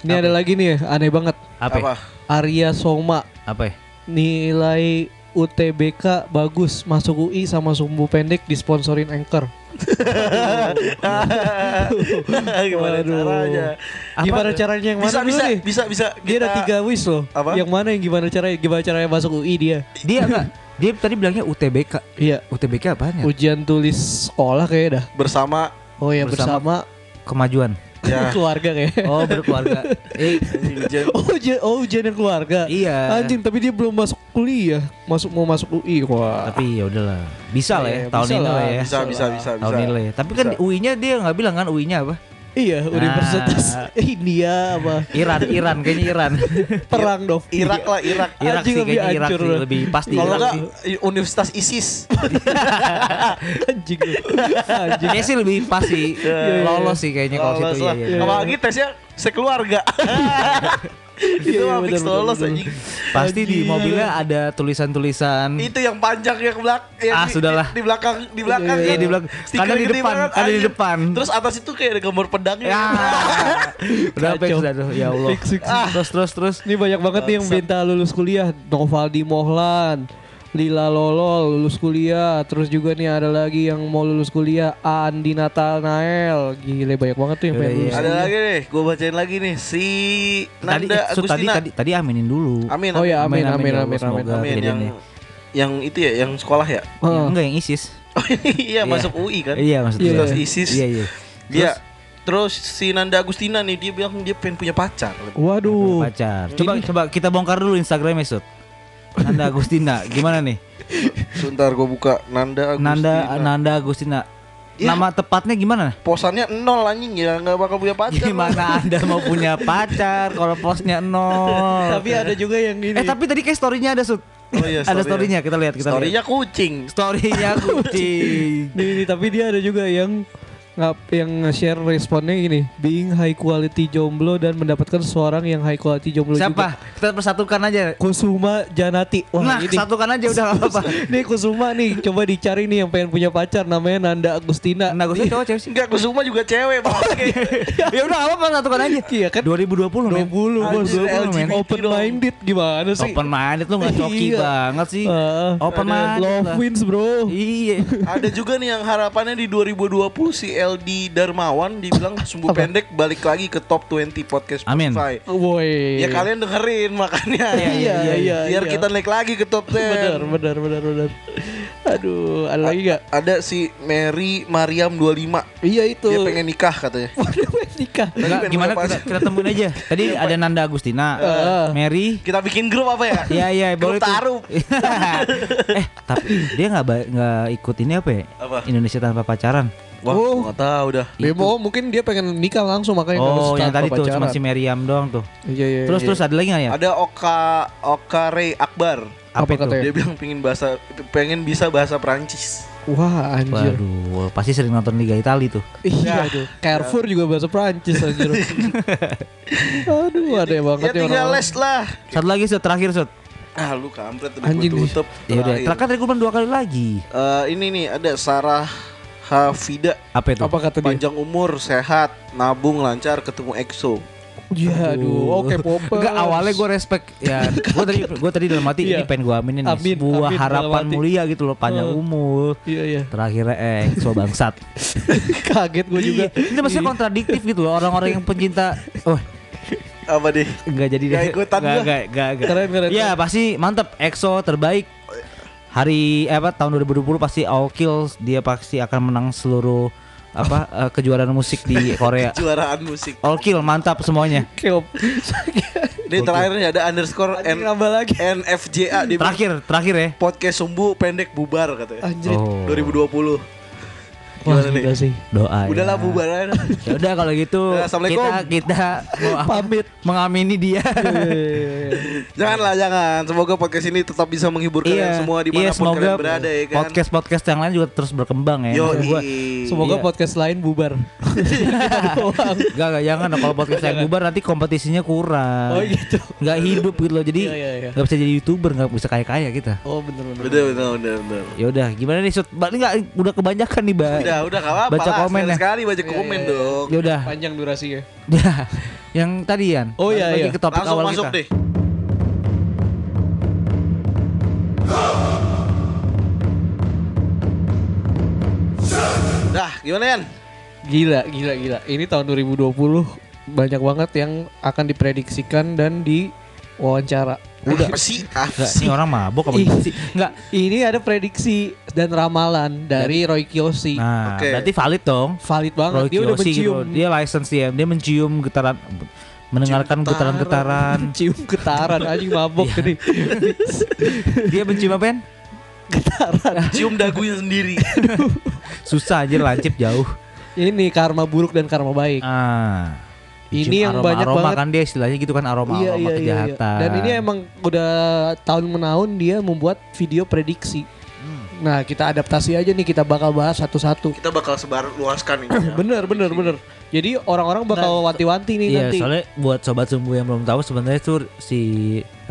Speaker 1: Ini ada lagi nih ya, aneh banget.
Speaker 2: Apa? ya?
Speaker 3: Apa?
Speaker 1: Arya Soma
Speaker 2: Apa? ya?
Speaker 1: nilai UTBK bagus masuk UI sama sumbu pendek disponsorin Anchor.
Speaker 3: Gimana
Speaker 1: Waduh.
Speaker 3: caranya?
Speaker 1: Apa? Gimana caranya yang mana
Speaker 3: Bisa
Speaker 1: dulu
Speaker 3: bisa,
Speaker 1: nih?
Speaker 3: bisa bisa
Speaker 1: Dia ada
Speaker 3: kita-
Speaker 1: tiga wish loh.
Speaker 3: Apa?
Speaker 1: Yang mana yang gimana caranya gimana caranya masuk UI dia?
Speaker 2: Dia enggak. Dia tadi bilangnya UTBK.
Speaker 1: Iya.
Speaker 2: UTBK apaan ya?
Speaker 1: Ujian tulis sekolah kayaknya dah.
Speaker 3: bersama
Speaker 1: Oh ya
Speaker 2: Bersama-
Speaker 1: bersama,
Speaker 2: Kemajuan.
Speaker 3: ya.
Speaker 1: keluarga kayaknya.
Speaker 2: Oh berkeluarga. eh,
Speaker 3: Hujan.
Speaker 1: Oh ujian, oh ujian yang keluarga.
Speaker 2: Iya.
Speaker 1: Anjing, tapi dia belum masuk kuliah, masuk mau masuk UI wah.
Speaker 2: tapi ya udahlah. Bisa lah ya
Speaker 1: Iya,
Speaker 2: tahun
Speaker 1: bisa
Speaker 2: ini
Speaker 1: lah,
Speaker 2: lah ya.
Speaker 3: Bisa bisa bisa
Speaker 2: Tahun ini
Speaker 3: bisa.
Speaker 2: lah ya. Tapi kan UI-nya dia nggak bilang kan UI-nya apa? Nah.
Speaker 1: Iya, Universitas India apa
Speaker 2: Iran, Iran kayaknya Iran.
Speaker 1: perang dong.
Speaker 3: Irak lah Irak.
Speaker 2: Irak
Speaker 1: Anjing
Speaker 2: sih
Speaker 1: lebih
Speaker 2: kayaknya Irak
Speaker 1: hancur
Speaker 2: sih
Speaker 1: loh.
Speaker 2: lebih pasti.
Speaker 3: Kalau
Speaker 2: Irak
Speaker 3: enggak
Speaker 2: sih.
Speaker 3: Universitas ISIS.
Speaker 1: Anjing lu. Anjing.
Speaker 2: Kayaknya sih lebih pasti lolos sih kayaknya kalau
Speaker 3: Iya, Lolos
Speaker 2: situ.
Speaker 3: lah.
Speaker 2: iya, iya.
Speaker 3: Apalagi tesnya sekeluarga. Itu
Speaker 1: Iya,
Speaker 3: mah
Speaker 1: bener,
Speaker 3: fix
Speaker 1: bener,
Speaker 3: lolos
Speaker 1: bener.
Speaker 3: anjing.
Speaker 2: Pasti di
Speaker 1: Anjing.
Speaker 2: mobilnya ada tulisan-tulisan.
Speaker 3: Itu yang panjang yang belak yang
Speaker 2: Ah,
Speaker 3: di-
Speaker 2: sudahlah.
Speaker 3: di, di belakang di belakang.
Speaker 2: Iya,
Speaker 3: kan.
Speaker 2: di belakang.
Speaker 3: Stiker
Speaker 2: Kadang di
Speaker 3: gede
Speaker 2: depan,
Speaker 3: banget,
Speaker 2: kadang di
Speaker 3: anjing.
Speaker 2: depan.
Speaker 3: Terus atas itu kayak ada gambar pedangnya.
Speaker 2: Ya. Udah fix
Speaker 1: Kacau.
Speaker 2: dah tuh. Ya Allah.
Speaker 1: Fix, fix, fix.
Speaker 2: Ah. Terus terus terus.
Speaker 1: Ini banyak banget nih yang minta lulus kuliah. Novaldi Mohlan, Lila Lolol lulus kuliah. Terus juga nih ada lagi yang mau lulus kuliah Andi Nathanael. Gile banyak banget tuh yang pengen
Speaker 2: Yaudah, iya.
Speaker 1: lulus.
Speaker 3: Ada lagi nih, gue bacain lagi nih si
Speaker 2: Tadi
Speaker 3: Nanda
Speaker 2: eh, Su, tadi
Speaker 3: Agustina.
Speaker 2: tadi tadi aminin dulu.
Speaker 3: Amin.
Speaker 1: Oh ya, amin amin
Speaker 2: Amin, amin,
Speaker 1: amin
Speaker 2: ya Allah,
Speaker 1: amin.
Speaker 2: semoga.
Speaker 1: amin.
Speaker 3: Amin yang
Speaker 2: Kejadian
Speaker 3: yang itu ya, yang sekolah ya.
Speaker 2: Ya,
Speaker 1: Heeh.
Speaker 2: enggak yang ISIS.
Speaker 3: Oh iya, masuk UI kan.
Speaker 2: Iya maksudnya.
Speaker 1: Terus
Speaker 3: ISIS.
Speaker 2: Iya iya.
Speaker 3: Iya. Terus si Nanda Agustina nih dia bilang dia pengen punya pacar.
Speaker 1: Waduh.
Speaker 2: Pacar. Coba coba kita bongkar dulu Instagramnya Sud. Nanda Agustina, gimana nih?
Speaker 3: Sebentar gue buka Nanda Agustina.
Speaker 2: Nanda Nanda Agustina.
Speaker 3: Iya.
Speaker 2: Nama tepatnya gimana?
Speaker 3: Posannya nol anjing ya nggak bakal punya pacar.
Speaker 2: Gimana Anda mau punya pacar kalau posnya nol?
Speaker 1: Tapi ada juga yang ini.
Speaker 2: Eh tapi tadi kayak storynya ada Sud.
Speaker 3: Oh iya,
Speaker 2: ada storynya
Speaker 3: story-nya.
Speaker 2: kita lihat kita lihat.
Speaker 3: Storynya kucing.
Speaker 2: Storynya kucing.
Speaker 1: Nih, nih, tapi dia ada juga yang ngap yang share responnya gini being high quality jomblo dan mendapatkan seorang yang high quality jomblo juga
Speaker 2: Siapa? Kita persatukan aja.
Speaker 1: Kusuma Janati wah
Speaker 2: nah,
Speaker 1: ini
Speaker 2: satukan aja udah gak apa-apa.
Speaker 1: nih Kusuma nih coba dicari nih yang pengen punya pacar namanya Nanda Agustina
Speaker 2: Nah, gue sih cowok cewek sih.
Speaker 3: Enggak, Kusuma juga cewek, bangke.
Speaker 2: Ya udah apa-apa satukan aja.
Speaker 1: Iya kan
Speaker 2: 2020
Speaker 1: 20
Speaker 2: men.
Speaker 1: bos
Speaker 3: Anjir,
Speaker 1: 20 men
Speaker 3: LGBT
Speaker 1: open
Speaker 3: dong.
Speaker 1: minded gimana sih
Speaker 2: Open minded lu gak coki
Speaker 1: Iya.
Speaker 2: banget sih.
Speaker 1: Heeh.
Speaker 2: Open
Speaker 1: Ada
Speaker 2: minded.
Speaker 1: love
Speaker 2: lah.
Speaker 1: wins
Speaker 3: Oh.
Speaker 1: bro
Speaker 2: Iya.
Speaker 3: Ada juga nih yang harapannya di 2020 si LD Darmawan dibilang sumbu
Speaker 1: Apa?
Speaker 3: pendek balik lagi ke top 20 podcast
Speaker 2: Amin.
Speaker 3: Spotify.
Speaker 1: woi
Speaker 3: Ya kalian dengerin makanya.
Speaker 1: Iya, iya, iya, iya.
Speaker 3: Biar kita naik lagi ke top
Speaker 1: benar
Speaker 3: 10.
Speaker 1: benar benar benar aduh ada lagi gak
Speaker 3: Ada si Mary Mariam 25.
Speaker 1: iya itu
Speaker 3: Dia pengen nikah katanya.
Speaker 1: nikah
Speaker 2: Enggak,
Speaker 3: pengen
Speaker 2: gimana
Speaker 3: punya
Speaker 2: kita,
Speaker 3: pacar.
Speaker 2: kita temuin aja. Tadi ada Nanda Agustina, Eh,
Speaker 1: Heeh.
Speaker 2: Mary,
Speaker 3: Kita bikin grup apa ya?
Speaker 2: Iya iya boleh
Speaker 3: Eh. Grup
Speaker 2: tuh.
Speaker 3: taruh.
Speaker 2: eh tapi dia nggak ba- nggak ikut ini apa ya?
Speaker 3: Apa?
Speaker 2: Indonesia tanpa pacaran.
Speaker 3: Wah,
Speaker 1: Oh.
Speaker 3: gua nggak tahu dah.
Speaker 1: Bemo mungkin dia pengen nikah langsung makanya nggak
Speaker 2: oh
Speaker 1: harus
Speaker 2: yang
Speaker 1: tanpa
Speaker 2: tadi tuh cuma
Speaker 1: pacaran.
Speaker 2: si Meriam doang tuh.
Speaker 1: Iya iya.
Speaker 2: Terus
Speaker 1: iya.
Speaker 2: terus ada lagi nggak ya?
Speaker 3: Ada Oka Oka Ray Akbar.
Speaker 1: apa
Speaker 2: itu?
Speaker 1: katanya?
Speaker 3: Dia bilang pengen bahasa pengen bisa bahasa Prancis.
Speaker 1: Wah anjir.
Speaker 2: Waduh, pasti sering nonton Liga Italia tuh.
Speaker 1: Iya
Speaker 3: Ya.
Speaker 1: tuh. Carrefour juga bahasa Prancis anjir. Aduh ada yang banget
Speaker 3: Ya tinggal les lah.
Speaker 2: Satu lagi Sud, terakhir Sud.
Speaker 3: Ah lu kampret udah
Speaker 1: Anjing
Speaker 3: gua
Speaker 1: nih.
Speaker 3: tutup.
Speaker 2: Ya udah,
Speaker 3: Terakhir.
Speaker 2: terakhir tadi gue bilang dua kali lagi.
Speaker 3: Eh, ini nih ada Sarah Hafida
Speaker 2: Apa itu?
Speaker 1: Apa kata dia?
Speaker 3: panjang umur sehat nabung lancar ketemu EXO
Speaker 1: Iya aduh. Oke Popers.
Speaker 2: Enggak awalnya gue respect ya. Gue tadi gue tadi dalam hati
Speaker 1: Iya.
Speaker 2: ini pengen gue aminin nih.
Speaker 1: Amin,
Speaker 2: Sebuah
Speaker 1: amin,
Speaker 2: harapan
Speaker 1: dalam hati.
Speaker 2: mulia gitu loh panjang
Speaker 1: Eh.
Speaker 2: umur.
Speaker 1: Iya iya.
Speaker 2: Terakhirnya eh so bangsat.
Speaker 1: Kaget gue juga.
Speaker 2: Iya, Ini maksudnya kontradiktif gitu loh orang-orang yang pencinta. Oh,
Speaker 3: apa deh
Speaker 2: Enggak jadi
Speaker 3: Nggak ikutan
Speaker 2: Enggak,
Speaker 3: gua.
Speaker 2: enggak, enggak, enggak.
Speaker 1: Keren, keren,
Speaker 2: Iya,
Speaker 1: keren.
Speaker 2: pasti mantep EXO terbaik. Hari eh, apa tahun 2020 pasti Aokil dia pasti akan menang seluruh apa eh, kejuaraan musik di Korea.
Speaker 3: juaraan musik
Speaker 2: Aokil mantap semuanya.
Speaker 1: Keop.
Speaker 3: ini terakhir nih ada underscore
Speaker 1: Anjing,
Speaker 3: N
Speaker 1: nambah lagi.
Speaker 3: NFJA di
Speaker 2: Terakhir, terakhir ya.
Speaker 3: podcast sumbu pendek bubar katanya
Speaker 1: Anjir.
Speaker 2: Oh.
Speaker 3: 2020
Speaker 1: Wah,
Speaker 3: Gimana nih?
Speaker 1: gila sih.
Speaker 2: Doa. ya.
Speaker 3: Udahlah bubar aja.
Speaker 2: Ya udah kalau gitu
Speaker 3: Ya, Assalamualaikum.
Speaker 2: kita kita mau apa?
Speaker 1: Pamit.
Speaker 2: mengamini dia.
Speaker 3: iya. Janganlah jangan. Semoga podcast ini tetap bisa menghibur kalian
Speaker 2: iya,
Speaker 3: semua dimanapun
Speaker 2: semoga
Speaker 3: kalian berada ya kan.
Speaker 2: Podcast podcast yang lain juga terus berkembang ya.
Speaker 3: Yo,
Speaker 2: Maksud gua,
Speaker 1: Semoga
Speaker 2: Iya.
Speaker 1: podcast lain bubar. Kita doang.
Speaker 2: Gak, gak jangan dong. kalau podcast yang bubar nanti kompetisinya kurang.
Speaker 1: Oh,
Speaker 3: iya.
Speaker 1: gitu.
Speaker 2: Gak hidup gitu loh. Jadi
Speaker 1: Iya, iya, iya.
Speaker 2: gak bisa jadi youtuber, gak bisa kaya kaya kita.
Speaker 1: Oh bener bener.
Speaker 3: Bener bener bener. bener.
Speaker 2: Ya udah, gimana nih? Sut? Ba- Ini gak udah kebanyakan nih, Mbak.
Speaker 3: Udah udah gak apa-apa.
Speaker 2: Iya. Baca
Speaker 3: lah.
Speaker 2: komen ya.
Speaker 3: sekali baca
Speaker 1: Iya,
Speaker 3: komen dong.
Speaker 2: Ya udah.
Speaker 1: Panjang durasinya.
Speaker 2: Ya, yang tadi Yan.
Speaker 1: Oh, iya,
Speaker 2: Balik
Speaker 1: iya.
Speaker 2: lagi ke topik
Speaker 3: Langsung
Speaker 2: awal
Speaker 3: masuk
Speaker 2: kita.
Speaker 3: deh. Dah, gimana Yan?
Speaker 1: Gila, gila, gila. Ini tahun 2020 banyak banget yang akan diprediksikan dan diwawancara.
Speaker 3: Udah sih, ah,
Speaker 2: Nggak,
Speaker 3: sih.
Speaker 2: ini orang mabok apa
Speaker 1: Ih.
Speaker 2: gimana sih? Enggak.
Speaker 1: Ini ada prediksi dan ramalan dari Roy Kiyoshi.
Speaker 2: Nah,
Speaker 3: Oke.
Speaker 2: berarti valid dong.
Speaker 1: Valid banget.
Speaker 2: Roy
Speaker 1: Oh, dia udah
Speaker 2: Kiyoshi gitu.
Speaker 1: mencium
Speaker 2: Dia license dia, dia mencium getaran mendengarkan getaran-getaran.
Speaker 1: cium getaran anjing mabok tadi.
Speaker 2: dia mencium apa, Yan?
Speaker 1: getaran.
Speaker 3: Cium dagunya sendiri.
Speaker 2: Susah aja lancip jauh.
Speaker 1: Ini karma buruk dan karma baik.
Speaker 2: Ah.
Speaker 1: Ini yang
Speaker 2: aroma,
Speaker 1: banyak
Speaker 2: aroma
Speaker 1: banget. Iya,
Speaker 2: kan dia istilahnya gitu kan aroma aroma kejahatan.
Speaker 1: Dan ini emang udah tahun menaun dia membuat video prediksi.
Speaker 2: Hmm.
Speaker 1: Nah, kita adaptasi aja nih kita bakal bahas satu-satu.
Speaker 3: Kita bakal sebar luaskan ini. ya.
Speaker 1: Bener, bener, bener. Jadi orang-orang bakal wanti-wanti nih
Speaker 2: Iya,
Speaker 1: nanti.
Speaker 2: soalnya buat sobat sumbu yang belum tahu sebenarnya tuh si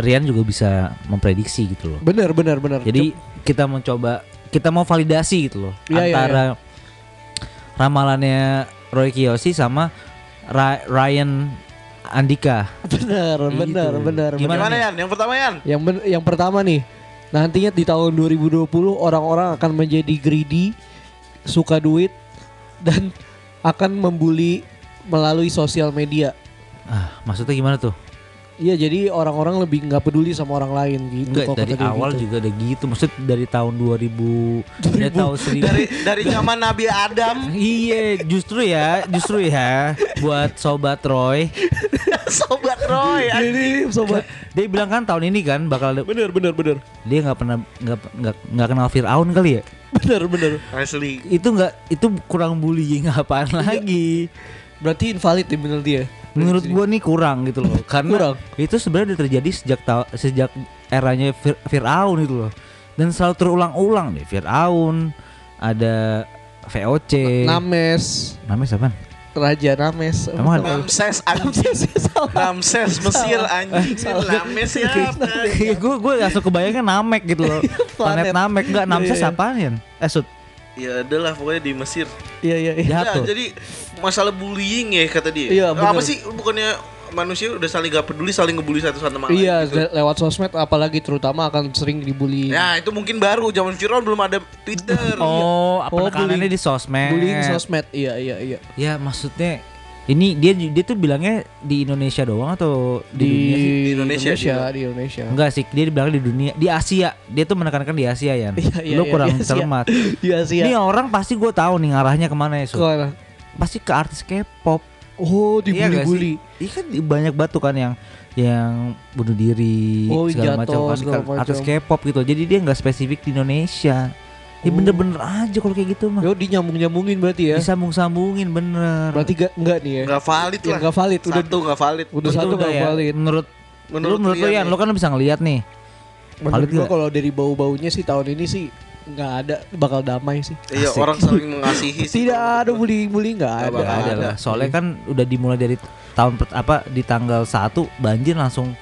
Speaker 2: Rian juga bisa memprediksi gitu loh.
Speaker 1: Bener, bener, bener.
Speaker 2: Jadi kita mencoba kita mau validasi gitu loh
Speaker 1: Iya, iya,
Speaker 2: antara ramalannya Roy Kiyoshi sama Ra- Ryan Andika.
Speaker 1: bener, bener,
Speaker 2: Gitu.
Speaker 1: bener, bener.
Speaker 2: Gimana
Speaker 3: Gimana
Speaker 2: nih?
Speaker 3: Yan? Yang pertama Yan?
Speaker 1: Yang ben- yang pertama nih, nantinya di tahun 2020 orang-orang akan menjadi greedy, suka duit dan akan membuli melalui sosial media.
Speaker 2: Ah, maksudnya gimana tuh?
Speaker 1: Iya, jadi orang-orang lebih nggak peduli sama orang lain gitu.
Speaker 2: Enggak
Speaker 1: kalau
Speaker 2: dari
Speaker 1: kata dia
Speaker 2: awal
Speaker 1: gitu.
Speaker 2: juga ada gitu. Maksud dari tahun 2000, dari tahun 1000.
Speaker 3: Dari dari zaman Nabi Adam
Speaker 2: Iya, justru ya, justru ya buat sobat Roy.
Speaker 3: sobat Roy.
Speaker 1: Jadi sobat
Speaker 2: Dia bilang kan tahun ini kan bakal ada-
Speaker 1: bener bener bener
Speaker 2: dia nggak pernah nggak nggak nggak kenal Firaun kali ya.
Speaker 1: bener bener.
Speaker 3: Asli.
Speaker 2: Itu nggak itu kurang bullying apaan
Speaker 1: Iya.
Speaker 2: lagi.
Speaker 1: Berarti invalid nih bener dia.
Speaker 2: Menurut gua nih kurang gitu loh. Karena
Speaker 1: Kurang.
Speaker 2: itu sebenarnya udah terjadi sejak ta- sejak eranya Fir- Firaun itu loh. Dan selalu terulang-ulang deh Firaun ada VOC.
Speaker 1: Names
Speaker 2: Namanya siapa?
Speaker 1: Raja Names.
Speaker 2: Emang ada-
Speaker 3: Ramses anjing. Ramses Mesir anjing. Ramses siapa?
Speaker 2: Iya gue gue langsung kebayangnya Namek gitu loh. Planet
Speaker 1: Iya, Planet.
Speaker 2: Namek enggak Namses
Speaker 1: Iya, iya.
Speaker 2: apaan ya? Eh Sud,
Speaker 3: Ya adalah pokoknya di Mesir.
Speaker 1: Iya iya iya.
Speaker 2: jahat
Speaker 3: Nah,
Speaker 2: tuh.
Speaker 3: jadi masalah bullying ya kata dia.
Speaker 1: Iya,
Speaker 3: Apa
Speaker 1: bener.
Speaker 3: sih bukannya manusia udah saling gak peduli saling ngebully satu sama lain
Speaker 1: Iya,
Speaker 3: gitu.
Speaker 1: le- lewat sosmed apalagi terutama akan sering dibully.
Speaker 2: Ya.
Speaker 3: Nah, itu mungkin baru zaman Firaun belum ada Twitter. Iya.
Speaker 2: Oh, apa
Speaker 1: Oh,
Speaker 2: nekanannya
Speaker 1: bullying.
Speaker 2: di sosmed.
Speaker 1: Bullying sosmed. Iya iya iya.
Speaker 2: Ya maksudnya ini dia dia tuh bilangnya di Indonesia doang atau
Speaker 1: Di,
Speaker 2: di, dunia sih?
Speaker 3: Di Indonesia,
Speaker 1: di Indonesia.
Speaker 2: Enggak sih, dia bilang di dunia, di Asia. Dia tuh menekankan di Asia ya.
Speaker 1: Iya, iya,
Speaker 2: Lu
Speaker 1: iya,
Speaker 2: kurang
Speaker 1: di Asia.
Speaker 2: cermat.
Speaker 1: Iya sih.
Speaker 2: Ini orang pasti gue tahu nih arahnya kemana ya, Sud.
Speaker 1: Iya.
Speaker 2: Pasti ke artis K-pop.
Speaker 1: Oh,
Speaker 2: Iya nggak
Speaker 1: dibully-bully.
Speaker 2: sih? Iya kan di- banyak batu kan yang yang bunuh diri
Speaker 1: Oh,
Speaker 2: segala
Speaker 1: jatuh,
Speaker 2: macam kan
Speaker 1: segala
Speaker 2: kan artis
Speaker 1: macam.
Speaker 2: K-pop gitu. Jadi dia nggak spesifik di Indonesia. Ya
Speaker 1: Oh.
Speaker 2: bener-bener aja kalau kayak gitu mah.
Speaker 1: Yo, dinyambung-nyambungin berarti ya.
Speaker 2: Disambung-sambungin bener.
Speaker 1: Berarti ga- enggak nih ya.
Speaker 3: Enggak
Speaker 2: Iya,
Speaker 1: Ya,
Speaker 3: valid lah.
Speaker 1: nggak valid, udah-
Speaker 3: satu enggak valid.
Speaker 1: Udah
Speaker 2: Itu
Speaker 1: satu
Speaker 2: udah
Speaker 1: nggak
Speaker 2: ya,
Speaker 1: valid.
Speaker 2: Menurut menurut
Speaker 3: Menurut
Speaker 2: lu, menurut lu Yan,
Speaker 3: Rian
Speaker 1: ya.
Speaker 3: nih.
Speaker 2: lu kan bisa ngelihat nih.
Speaker 1: Menurut
Speaker 2: Valid
Speaker 1: gua
Speaker 2: nggak?
Speaker 1: kalau dari bau-baunya sih tahun ini sih nggak ada bakal damai sih.
Speaker 3: Iya,
Speaker 2: Asik.
Speaker 3: orang saling mengasihi sih.
Speaker 1: Tidak ada bullying-bullying nggak
Speaker 3: Nggak
Speaker 1: ada.
Speaker 2: Nggak ada
Speaker 3: ada.
Speaker 2: lah. Soalnya kan udah dimulai dari tahun per- apa di tanggal 1 banjir langsung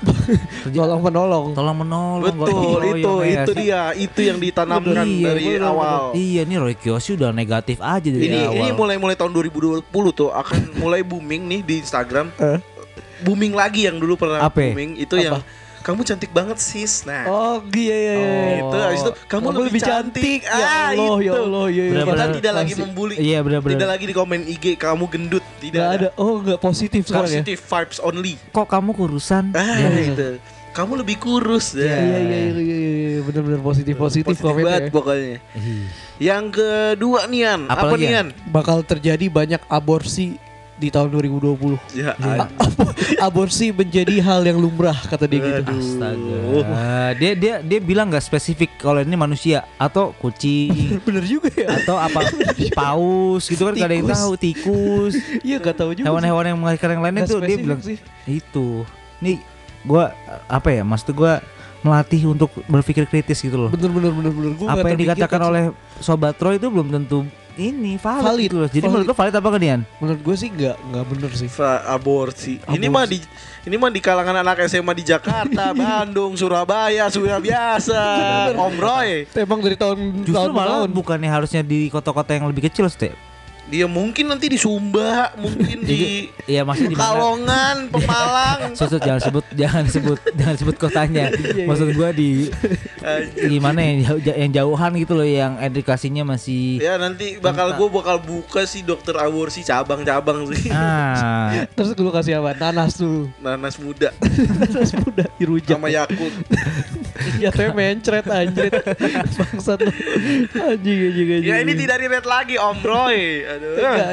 Speaker 2: terjadi.
Speaker 1: Tolong menolong.
Speaker 2: tolong menolong
Speaker 3: Betul,
Speaker 2: gotong royong,
Speaker 3: itu
Speaker 2: ya
Speaker 3: itu
Speaker 2: sih?
Speaker 3: dia, itu yang ditanamkan
Speaker 2: Iya,
Speaker 3: dari
Speaker 2: bener,
Speaker 3: awal.
Speaker 2: Iya nih Roy Kiyoshi udah negatif aja dari
Speaker 3: Ini
Speaker 2: awal.
Speaker 3: ini mulai-mulai tahun 2020 tuh akan mulai booming nih di Instagram. Booming lagi yang dulu pernah
Speaker 2: Apa?
Speaker 3: booming itu yang kamu cantik banget sis. Nah,
Speaker 1: Oh iya iya iya.
Speaker 3: itu habis itu kamu, lebih, cantik.
Speaker 1: Ya
Speaker 3: Ah,
Speaker 1: Allah ya
Speaker 3: itu.
Speaker 1: Allah ya.
Speaker 2: Bener-bener.
Speaker 3: Kita
Speaker 2: Benar,
Speaker 3: tidak lagi
Speaker 1: Pasti.
Speaker 3: membuli.
Speaker 2: Iya, benar-benar.
Speaker 3: Tidak lagi di komen IG kamu gendut, tidak
Speaker 1: Nggak ada. Oh nggak positif sekarang ya.
Speaker 3: Positive vibes only.
Speaker 2: kok kamu kurusan?
Speaker 3: Ah, gitu. Kamu lebih kurus deh.
Speaker 1: Iya iya iya iya iya benar-benar positif positif ya.
Speaker 3: Positif
Speaker 1: komennya.
Speaker 3: banget pokoknya. Yang kedua Nian,
Speaker 2: Apa
Speaker 3: apa,
Speaker 2: lagi, Yan?
Speaker 3: Nian?
Speaker 1: Bakal terjadi banyak aborsi di tahun 2020.
Speaker 3: Ya,
Speaker 1: A- ab- aborsi menjadi hal yang lumrah kata dia gitu.
Speaker 2: Astaga. Dia dia dia bilang nggak spesifik kalau ini manusia atau kucing
Speaker 1: Bener juga ya.
Speaker 2: atau apa paus gitu kan gak ada yang
Speaker 1: Tikus.
Speaker 2: tahu tikus
Speaker 1: Iya gak tahu juga. sih.
Speaker 2: hewan-hewan yang mengerikan yang lainnya
Speaker 1: Nggak
Speaker 2: tuh dia
Speaker 1: spesifik
Speaker 2: bilang
Speaker 1: sih.
Speaker 2: itu nih gua apa ya maksud gua melatih untuk berpikir kritis gitu loh
Speaker 1: Bener bener bener bener. Gua nggak
Speaker 2: apa yang
Speaker 1: terpikir
Speaker 2: dikatakan
Speaker 1: tuh.
Speaker 2: oleh sobat Troy itu belum tentu ini valid,
Speaker 1: Valid,
Speaker 2: gitu loh. Jadi
Speaker 1: valid.
Speaker 2: menurut lo valid apa kalian?
Speaker 1: menurut gue sih nggak nggak bener sih.
Speaker 3: Sa- aborsi. Ini mah di ini mah di kalangan anak SMA di Jakarta, Bandung, Surabaya, Surabiasa, Om Roy.
Speaker 1: Emang dari tahun
Speaker 2: Justru
Speaker 1: tahun ke
Speaker 2: malah
Speaker 1: tahun.
Speaker 2: bukannya harusnya di kota-kota yang lebih kecil, Ste.
Speaker 3: Dia mungkin nanti di Sumba, mungkin di
Speaker 2: Iya, maksudnya di mana?
Speaker 3: Kalongan, Pemalang.
Speaker 2: Susut jangan sebut jangan sebut jangan sebut kotanya.
Speaker 1: Iya,
Speaker 2: Maksud gua di
Speaker 3: Eh,
Speaker 2: gimana yang jauh, yang jauhan gitu loh yang edukasinya masih
Speaker 3: Ya nanti bakal gue bakal buka sih dokter aborsi cabang-cabang
Speaker 1: Iya.
Speaker 3: sih.
Speaker 2: ah
Speaker 1: Terus gue kasih apa? Nanas tuh.
Speaker 3: Nanas muda
Speaker 1: Nanas muda dirujak.
Speaker 3: sama Yakut.
Speaker 1: ya teh mencret anjrit. Bangsat lu. Anjing anjing anjing.
Speaker 3: Ya
Speaker 1: anjing.
Speaker 3: ini tidak relate lagi Om Roy. Aduh.
Speaker 1: Nggak,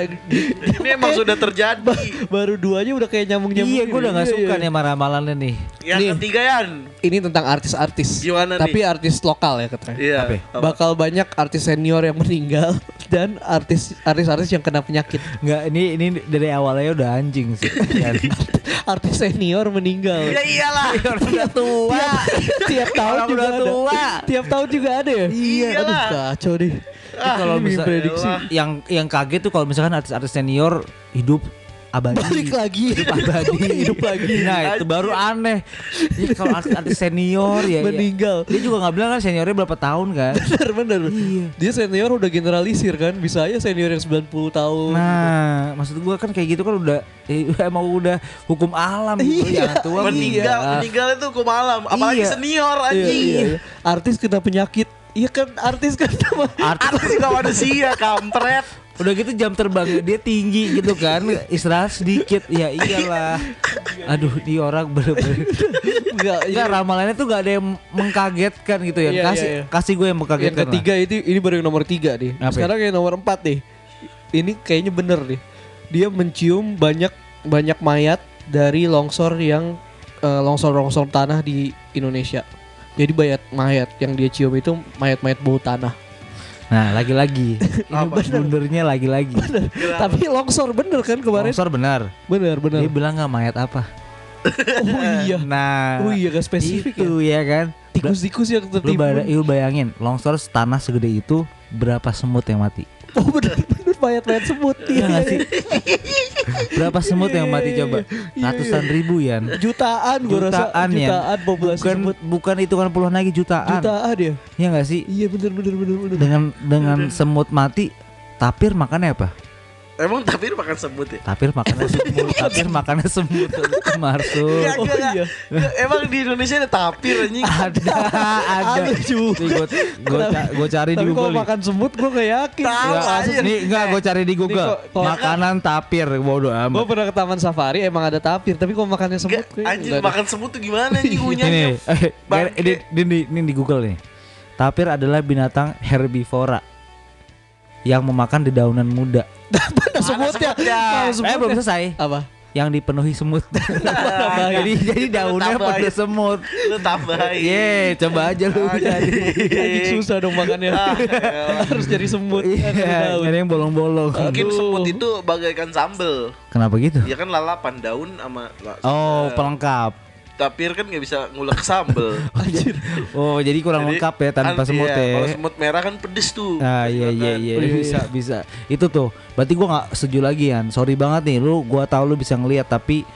Speaker 3: Ini emang sudah
Speaker 1: ba-
Speaker 3: terjadi.
Speaker 1: baru duanya udah kayak gitu. nyambung nyambung.
Speaker 2: iya gua udah nggak suka nih sama ramalannya nih
Speaker 1: Nih.
Speaker 3: Yang ketiga Yan.
Speaker 1: Ini tentang artis-artis.
Speaker 3: Gimana
Speaker 1: Tapi artis lokal ya katanya.
Speaker 3: Iya.
Speaker 2: Apa ya?
Speaker 3: apa?
Speaker 1: Bakal banyak artis senior yang meninggal dan artis artis-artis yang kena penyakit.
Speaker 2: nggak ini ini dari awalnya udah anjing sih
Speaker 1: Artis senior meninggal.
Speaker 3: Ya iyalah.
Speaker 2: udah tua
Speaker 1: Tiap- tiap tahun
Speaker 2: Orang
Speaker 1: juga
Speaker 2: Iya, udah
Speaker 1: ada.
Speaker 2: tua.
Speaker 1: Tiap tahun juga ada ya.
Speaker 3: Iya.
Speaker 1: Aduh kacau deh.
Speaker 3: Ah,
Speaker 2: Iya, kalau
Speaker 1: Ini
Speaker 2: bisa
Speaker 1: prediksi.
Speaker 3: elah.
Speaker 2: yang yang kaget tuh kalau misalkan artis-artis senior hidup abadi
Speaker 1: Balik lagi.
Speaker 2: hidup abadi
Speaker 1: Hidup lagi. Iya,
Speaker 2: nah itu baru aneh Ih, kalau artis-artis senior ya, ya.
Speaker 1: Meninggal.
Speaker 2: dia juga nggak bilang kan seniornya berapa tahun kan
Speaker 1: Bener bener. Dia senior udah generalisir kan. Bisa aja senior yang 90 tahun.
Speaker 2: nah maksud gua kan kayak gitu kan udah eh, emang udah hukum alam gitu
Speaker 1: Iya.
Speaker 2: yang tua
Speaker 3: meninggal, meninggal itu ke malam,
Speaker 2: Iya.
Speaker 3: apalagi senior
Speaker 1: Iya,
Speaker 3: anjing.
Speaker 1: iya, iya. Artis kena penyakit. Iya kan artis kan sama.
Speaker 2: artis
Speaker 3: Artis juga manusia, kampret.
Speaker 2: udah gitu jam terbang dia tinggi gitu kan istirahat sedikit ya iyalah aduh di orang bener-bener
Speaker 1: Enggak, iya.
Speaker 2: Enggak ramalannya tuh gak ada yang mengkagetkan gitu ya.
Speaker 1: Iya,
Speaker 2: kasih
Speaker 1: iya, iya.
Speaker 2: kasih gue yang mengkagetkan.
Speaker 1: Yang ketiga itu ini baru yang nomor tiga nih.
Speaker 2: Apa ya?
Speaker 1: Sekarang yang nomor empat nih. Ini kayaknya bener nih. Dia mencium banyak banyak mayat dari longsor yang eh, longsor-longsor tanah di Indonesia. Jadi mayat mayat yang dia cium itu mayat-mayat bau tanah.
Speaker 2: lah. Nah, lagi-lagi. Ini
Speaker 3: Apa?
Speaker 2: bundernya lagi-lagi.
Speaker 1: Tapi longsor bener kan kemarin?
Speaker 2: Longsor benar.
Speaker 1: Bener bener.
Speaker 2: Dia bilang nggak mayat apa.
Speaker 1: Oh iya.
Speaker 2: Nah,
Speaker 1: Oh iya gak spesifik
Speaker 2: itu ya, kan.
Speaker 1: Tikus-tikus yang
Speaker 2: Lu, bada-
Speaker 1: tertimbun.
Speaker 2: lu bayangin, longsor tanah segede itu berapa semut yang mati?
Speaker 1: Oh bener bener mayat-mayat semut. Iya.
Speaker 2: Iya nggak sih? Berapa semut yang mati coba?
Speaker 1: iya.
Speaker 2: Ratusan ribu ya.
Speaker 1: Jutaan gue rasa
Speaker 2: Jutaan, Yan.
Speaker 1: jutaan populasi
Speaker 2: Bukan
Speaker 1: semut.
Speaker 2: bukan itu kan puluhan lagi jutaan.
Speaker 1: Jutaan ya.
Speaker 2: Iya nggak sih?
Speaker 1: Iya bener bener bener bener.
Speaker 2: Dengan dengan semut mati, tapir makannya apa?
Speaker 3: Emang tapi makan semut ya?
Speaker 2: Tapir makannya semut, tapir makannya semut, Marsul.
Speaker 3: Enggak, enggak,
Speaker 1: iya.
Speaker 3: enggak. Emang di Indonesia ada tapir anjing.
Speaker 2: Ada, ada.
Speaker 1: Ada juga.
Speaker 2: Nih, gua, gua, ca- gua cari di
Speaker 1: Tapi kalau
Speaker 2: Google. nih.
Speaker 1: makan semut gue gak yakin.
Speaker 3: Tahu,
Speaker 1: Nggak,
Speaker 3: anjir.
Speaker 1: asli.
Speaker 2: Nih, enggak, gua cari di Google.
Speaker 1: kok- kok-
Speaker 2: Makanan tapir, bodoh
Speaker 1: Gue
Speaker 2: amat.
Speaker 1: pernah ke taman safari emang ada tapir, tapi kalau makannya semut
Speaker 3: Enggak,
Speaker 1: kayaknya
Speaker 3: anjing
Speaker 1: nggak ada.
Speaker 3: makan semut tuh gimana anjing
Speaker 2: Ini,
Speaker 3: ngunyahnya?
Speaker 2: eh,
Speaker 3: Bangke.
Speaker 2: ini, ini, ini- ini di Google nih. Tapir adalah binatang herbivora yang memakan dedaunan muda.
Speaker 1: Ada semutnya.
Speaker 3: semutnya.
Speaker 1: Ada
Speaker 2: Eh, belum
Speaker 1: semutnya.
Speaker 2: selesai.
Speaker 1: Apa?
Speaker 2: Yang dipenuhi semut.
Speaker 1: Nah,
Speaker 2: jadi jadi daunnya
Speaker 3: Tambah.
Speaker 2: pada semut.
Speaker 3: Lu tambahin.
Speaker 2: Ye, coba aja lu jadi.
Speaker 1: Anjing susah dong makannya.
Speaker 3: Iya, Ah, elah.
Speaker 1: Harus jadi semut. harus ada
Speaker 2: Iya,
Speaker 1: daun.
Speaker 2: ada yang bolong-bolong.
Speaker 3: Mungkin
Speaker 1: Aduh.
Speaker 3: semut itu bagaikan sambel.
Speaker 2: Kenapa gitu?
Speaker 3: Ya kan lalapan daun sama la-
Speaker 2: Oh, pelengkap.
Speaker 3: tapir kan nggak bisa ngulek sambel.
Speaker 1: Anjir.
Speaker 2: Oh, jadi kurang
Speaker 3: Jadi,
Speaker 2: lengkap ya tanpa
Speaker 3: an-
Speaker 2: semut
Speaker 3: iya, Kalau
Speaker 2: ya.
Speaker 3: semut merah kan pedes tuh.
Speaker 2: Ah iya iya
Speaker 3: Kan.
Speaker 2: iya
Speaker 1: Oh, iya, iya.
Speaker 2: bisa bisa. Itu tuh. Berarti gua nggak setuju lagi Yan. Sorry banget nih lu gua tahu lu bisa ngelihat tapi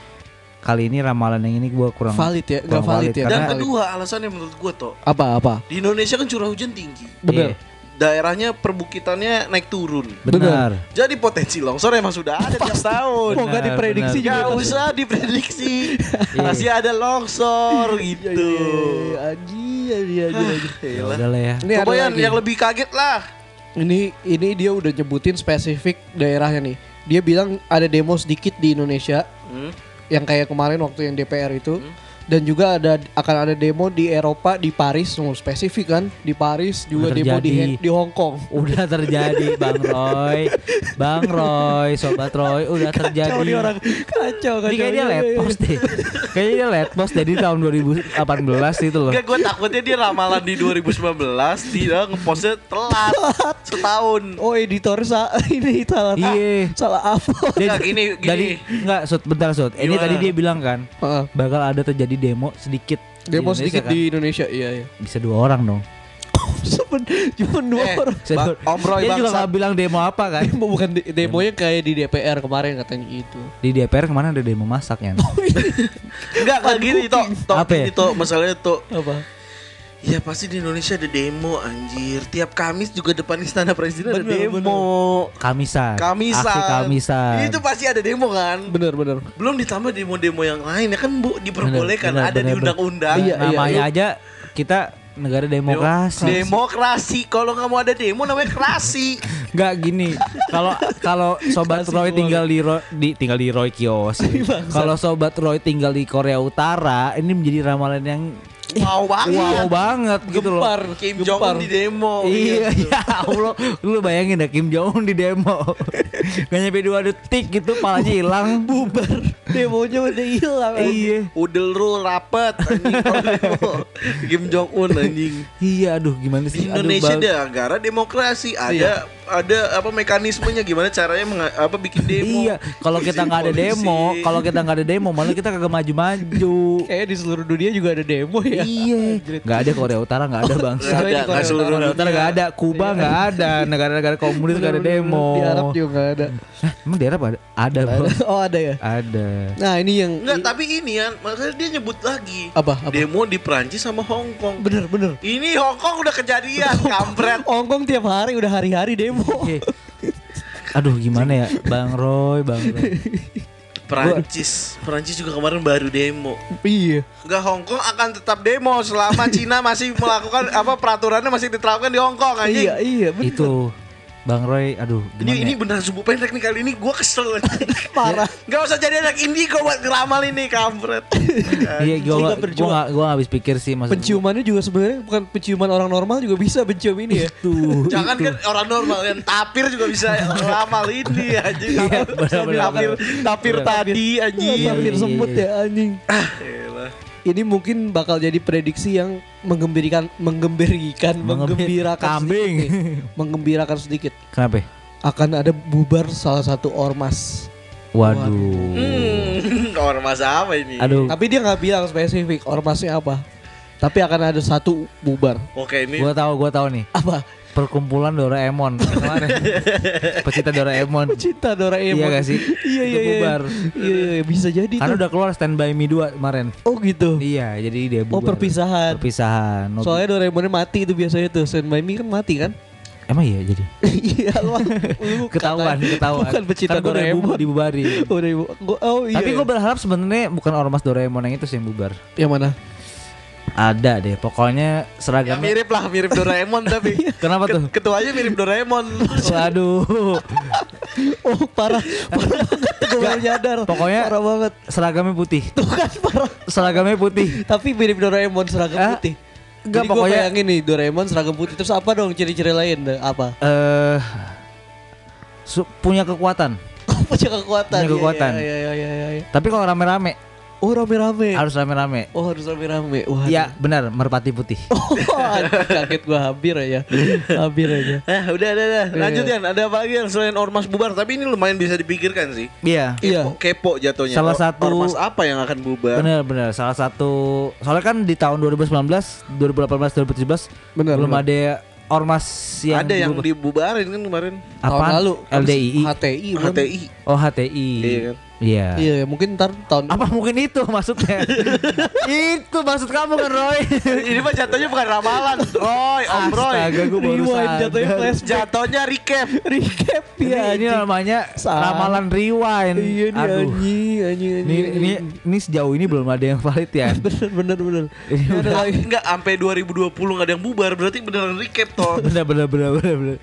Speaker 2: kali ini ramalan yang ini gua kurang
Speaker 1: Valid ya? Nggak
Speaker 2: kurang
Speaker 1: valid ya?
Speaker 2: Karena
Speaker 3: Dan
Speaker 1: Kenapa?
Speaker 3: kedua alasannya menurut gua toh
Speaker 1: Apa apa?
Speaker 3: di Indonesia kan curah hujan tinggi,
Speaker 1: Bener.
Speaker 2: Iya.
Speaker 3: daerahnya perbukitannya naik turun.
Speaker 2: benar.
Speaker 3: Jadi potensi longsor emang sudah ada tiap tahun.
Speaker 1: Mau Oh, nggak
Speaker 2: Benar,
Speaker 1: diprediksi
Speaker 2: benar.
Speaker 1: juga. Iya,
Speaker 3: Gak usah diprediksi
Speaker 2: Iya,
Speaker 3: masih ada longsor
Speaker 1: iya,
Speaker 3: gitu.
Speaker 1: Anjir, anjir, anjir, anjir.
Speaker 2: Ya
Speaker 3: Yalah.
Speaker 2: udah lah ya.
Speaker 1: iya, Ini ada
Speaker 3: Coba yang,
Speaker 1: lagi.
Speaker 3: yang lebih kaget lah.
Speaker 1: Ini ini dia udah nyebutin spesifik daerahnya nih. Dia bilang ada demo sedikit di Indonesia
Speaker 3: Hmm?
Speaker 1: yang kayak kemarin waktu yang DPR itu dan juga ada akan ada demo di Eropa di Paris nomor spesifik kan di Paris juga demo di
Speaker 2: Terjadi.
Speaker 1: di Hong Kong
Speaker 2: Udah terjadi Bang Roy Bang Roy Sobat Roy Udah terjadi
Speaker 1: kacau nih orang kacau kacau
Speaker 2: Ini kayaknya
Speaker 1: Iya, iya,
Speaker 2: dia
Speaker 1: iya.
Speaker 2: letpos deh Kayaknya dia letpos deh di tahun 2018 itu gitu loh
Speaker 3: Enggak gue takutnya dia ramalan di 2019 Dia ngepostnya telat Setahun
Speaker 1: oh editor sa ini salah
Speaker 2: Iya.
Speaker 1: salah upload
Speaker 3: Enggak gini gini
Speaker 2: Tadi Enggak Sud Bentar Sud Ini
Speaker 3: Gimana?
Speaker 2: tadi dia bilang kan
Speaker 1: Heeh.
Speaker 2: Bakal ada terjadi demo sedikit di
Speaker 1: demo
Speaker 2: Indonesia
Speaker 1: sedikit
Speaker 2: kan.
Speaker 1: di Indonesia iya iya
Speaker 2: Bisa dua orang dong
Speaker 1: Semen- cuma dua
Speaker 3: Eh,
Speaker 1: orang
Speaker 2: Bisa
Speaker 3: Bang-
Speaker 2: dua-
Speaker 3: Om Roy
Speaker 2: Dia juga
Speaker 3: bangsat.
Speaker 2: gak bilang demo apa kan
Speaker 1: demo bukan di- demonya kayak di DPR kemarin katanya gitu. itu
Speaker 2: Di DPR kemana ada demo masak ya
Speaker 3: Enggak enggak gini Tok Tok
Speaker 2: Apa ya?
Speaker 3: gini Tok Masalahnya Tok
Speaker 1: apa
Speaker 3: Ya pasti di Indonesia ada demo anjir Tiap Kamis juga depan istana presiden ada
Speaker 1: Bener,
Speaker 3: demo
Speaker 2: Kamisan
Speaker 3: Kamisan
Speaker 2: Aksi Kamisan
Speaker 3: Itu pasti ada demo kan
Speaker 1: bener bener
Speaker 3: Belum ditambah demo-demo yang lain ya kan bu diperbolehkan
Speaker 2: Bener, bener,
Speaker 3: ada di
Speaker 2: bener, bener.
Speaker 3: undang-undang.
Speaker 1: Iya, iya,
Speaker 2: Namanya
Speaker 1: iya.
Speaker 2: aja kita negara demokrasi
Speaker 3: Demokrasi. Kalau nggak mau ada demo namanya kerasi.
Speaker 2: Enggak gini. Kalau kalau sobat
Speaker 1: Kasih
Speaker 2: Roy
Speaker 1: gua.
Speaker 2: tinggal di Roy, di tinggal di Roy Kios.
Speaker 1: Bangsat.
Speaker 2: kalau sobat Roy tinggal di Korea Utara, ini menjadi ramalan yang Iya.
Speaker 3: Wow
Speaker 2: wow
Speaker 3: banget.
Speaker 2: banget gitu loh.
Speaker 1: gempar
Speaker 3: Kim Jong
Speaker 1: gempar
Speaker 3: Un di demo.
Speaker 2: Iya, ya Allah, lu bayangin dah Kim Jong Un di demo, gak nyampe dua detik gitu, palanya hilang, bubar.
Speaker 1: demonya udah hilang
Speaker 2: Iya,
Speaker 3: Udel rule rapet anjing kalau demo. Kim Jong Un anjing.
Speaker 2: iya, aduh gimana
Speaker 3: Di
Speaker 2: sih? Aduh,
Speaker 3: Indonesia
Speaker 2: bang-
Speaker 3: ada negara demokrasi, ada ada apa mekanismenya gimana caranya menga- apa bikin demo.
Speaker 2: Iya, kalau kita
Speaker 3: Izin
Speaker 2: nggak ada
Speaker 3: polisi.
Speaker 2: demo, kalau kita nggak ada demo, malah kita kagak maju-maju.
Speaker 1: kayaknya di seluruh dunia juga ada demo ya
Speaker 2: Iya, nggak ada Korea Utara nggak ada bangsa.
Speaker 3: Nggak ada,
Speaker 1: Di Korea
Speaker 3: nggak seluruh
Speaker 1: Utara.
Speaker 2: Korea Utara nggak ada, Kuba nggak ada, negara-negara komunis nggak ada
Speaker 1: Bener, bener,
Speaker 2: demo.
Speaker 1: di Arab juga nggak ada
Speaker 2: Hah, emang di Arab ada? Ada, bro.
Speaker 1: oh ada ya
Speaker 2: Ada.
Speaker 1: nah ini yang
Speaker 3: Enggak, tapi ini kan makanya dia nyebut lagi.
Speaker 1: Apa, apa?
Speaker 3: Demo di Perancis sama Hong Kong.
Speaker 1: bener bener
Speaker 3: Ini Hong Kong udah kejadian, kampret.
Speaker 1: Hongkong tiap hari udah hari-hari demo
Speaker 2: Oke. Eh. Aduh gimana ya, Bang Roy, Bang Roy.
Speaker 3: Perancis, Perancis juga kemarin baru demo.
Speaker 1: iya
Speaker 3: Enggak Hong Kong akan tetap demo selama Cina masih melakukan apa peraturannya masih diterapkan di Hong Kong anjing.
Speaker 1: iya iya bener.
Speaker 2: Itu Bang Roy, aduh
Speaker 3: Ini
Speaker 2: gimana?
Speaker 3: ini beneran sumbu pendek nih kali ini gua kesel.
Speaker 1: parah
Speaker 3: Gak usah jadi anak indigo buat ngeramal ini kampret.
Speaker 1: Ini
Speaker 2: Iya, gua gua
Speaker 1: nggak berjuang.
Speaker 2: nggak- gua nggak habis pikir sih maksud
Speaker 1: penciumannya juga sebenarnya bukan penciuman orang normal juga bisa pencium ini ya
Speaker 2: Tuh.
Speaker 3: Jangan kan orang normal yang tapir juga bisa ngeramal ini anjing.
Speaker 2: Iya, bener-bener.
Speaker 3: tapir tapir
Speaker 2: Bener.
Speaker 3: tadi anjing.
Speaker 2: Iya,
Speaker 1: Sambil
Speaker 2: iya,
Speaker 1: Iya. semut
Speaker 2: iya.
Speaker 1: ya anjing
Speaker 3: Ah, elah.
Speaker 1: ini mungkin bakal jadi prediksi yang menggembirikan menggembirikan
Speaker 2: Mengembir-
Speaker 1: menggembirakan
Speaker 2: kambing.
Speaker 1: sedikit nih. menggembirakan sedikit
Speaker 2: Kenapa? ya?
Speaker 1: akan ada bubar salah satu ormas
Speaker 2: Waduh.
Speaker 3: Hmm, ormas apa ini?
Speaker 2: Aduh.
Speaker 1: tapi dia nggak bilang spesifik ormasnya apa tapi akan ada satu bubar
Speaker 3: Oke, ini
Speaker 2: Gua tahu, gua tahu nih.
Speaker 1: apa
Speaker 2: Perkumpulan Doraemon kemarin. Pecinta Doraemon.
Speaker 1: cinta Doraemon
Speaker 2: Iya gak sih?
Speaker 1: iya iya
Speaker 2: Itu
Speaker 1: iya.
Speaker 2: bubar.
Speaker 1: iya iya iya, bisa jadi
Speaker 2: Karena
Speaker 1: tuh.
Speaker 2: udah keluar Stand By Me 2 kemarin.
Speaker 1: oh gitu
Speaker 2: Iya, jadi dia
Speaker 1: oh
Speaker 2: bubar.
Speaker 1: perpisahan
Speaker 2: Perpisahan. No-
Speaker 1: soalnya Doraemonnya mati itu biasanya tuh Stand By Me kan mati kan
Speaker 2: emang iya jadi.
Speaker 1: iya lu lu
Speaker 2: Ketahuan,
Speaker 1: katanya.
Speaker 2: ketahuan.
Speaker 1: bukan pecinta
Speaker 2: Karena gua udah
Speaker 1: Doraemon
Speaker 2: bubar- dibubarin.
Speaker 1: Udah ibu. Gua, oh iya.
Speaker 2: Tapi
Speaker 1: ya.
Speaker 2: gue berharap sebenarnya bukan ormas Doraemon yang itu sih yang bubar.
Speaker 1: yang mana?
Speaker 2: Ada deh, pokoknya
Speaker 3: Ya
Speaker 2: seragamnya.
Speaker 3: mirip lah, mirip Doraemon tapi
Speaker 2: Kenapa
Speaker 3: Ket-
Speaker 2: tuh?
Speaker 3: Ketuanya mirip Doraemon.
Speaker 2: Waduh,
Speaker 1: Oh parah, parah banget. Gue baru nyadar.
Speaker 2: pokoknya-
Speaker 1: parah banget.
Speaker 2: seragamnya putih.
Speaker 1: Tuh kan parah.
Speaker 2: Seragamnya putih.
Speaker 1: Tapi mirip Doraemon seragam
Speaker 2: Hah?
Speaker 1: putih.
Speaker 2: Enggak,
Speaker 1: Jadi gua
Speaker 2: pokoknya-
Speaker 1: bayangin nih Doraemon seragam putih terus apa dong ciri-ciri lain? Dah, Apa?
Speaker 2: Eh, su- punya kekuatan.
Speaker 1: Punya kekuatan.
Speaker 2: Punya kekuatan.
Speaker 1: Iya iya iya iya. iya.
Speaker 2: Tapi kalau rame-rame
Speaker 1: Oh rame-rame.
Speaker 2: harus rame-rame.
Speaker 1: Oh harus rame-rame. Wah.
Speaker 2: Iya, benar, merpati putih.
Speaker 1: Oh, aduh, kaget gua hampir aja. Hampir aja.
Speaker 3: Eh, udah, udah, udah. Lanjut
Speaker 1: Iya.
Speaker 3: Yan. Ada apa lagi yang selain ormas bubar? Tapi ini lumayan bisa dipikirkan sih.
Speaker 2: Iya.
Speaker 1: Iya.
Speaker 3: Kepo, kepo jatuhnya.
Speaker 2: Salah
Speaker 3: Or-
Speaker 2: satu-
Speaker 3: ormas apa yang akan bubar?
Speaker 2: Bener-bener salah satu soalnya kan di tahun 2019, 2018, 2017
Speaker 1: Bener,
Speaker 2: belum
Speaker 1: bener.
Speaker 2: ada ormas yang
Speaker 3: Ada yang
Speaker 2: berubah.
Speaker 3: dibubarin kan kemarin.
Speaker 2: apa
Speaker 1: Tahun lalu kan
Speaker 2: LDII
Speaker 1: HTI. bukan?
Speaker 3: HTI.
Speaker 2: oh HTI
Speaker 3: Iya kan?
Speaker 2: iya
Speaker 1: Iya, iya, mungkin ntar tahun
Speaker 2: apa mungkin itu maksudnya itu maksud kamu kan Roy
Speaker 3: ini mah jatuhnya bukan ramalan. Roy, Om Roy.
Speaker 2: astaga gue baru
Speaker 1: rewind
Speaker 2: sadar.
Speaker 1: jatuhnya flashback.
Speaker 3: Jatuhnya recap.
Speaker 1: Recap ya.
Speaker 2: ini, Iya, ini
Speaker 1: anjing.
Speaker 2: namanya
Speaker 1: Salah.
Speaker 2: ramalan rewind
Speaker 1: Iya nih
Speaker 2: aduh
Speaker 1: anjing, anjing,
Speaker 2: ini,
Speaker 1: anjing,
Speaker 2: ini
Speaker 1: anjing.
Speaker 2: ini sejauh ini belum ada yang valid ya
Speaker 1: bener bener bener.
Speaker 2: Ini
Speaker 1: Ini ada
Speaker 2: udah-
Speaker 1: lagi.
Speaker 3: Enggak sampai 2020 nggak ada yang bubar, berarti beneran recap toh.
Speaker 2: bener bener bener bener bener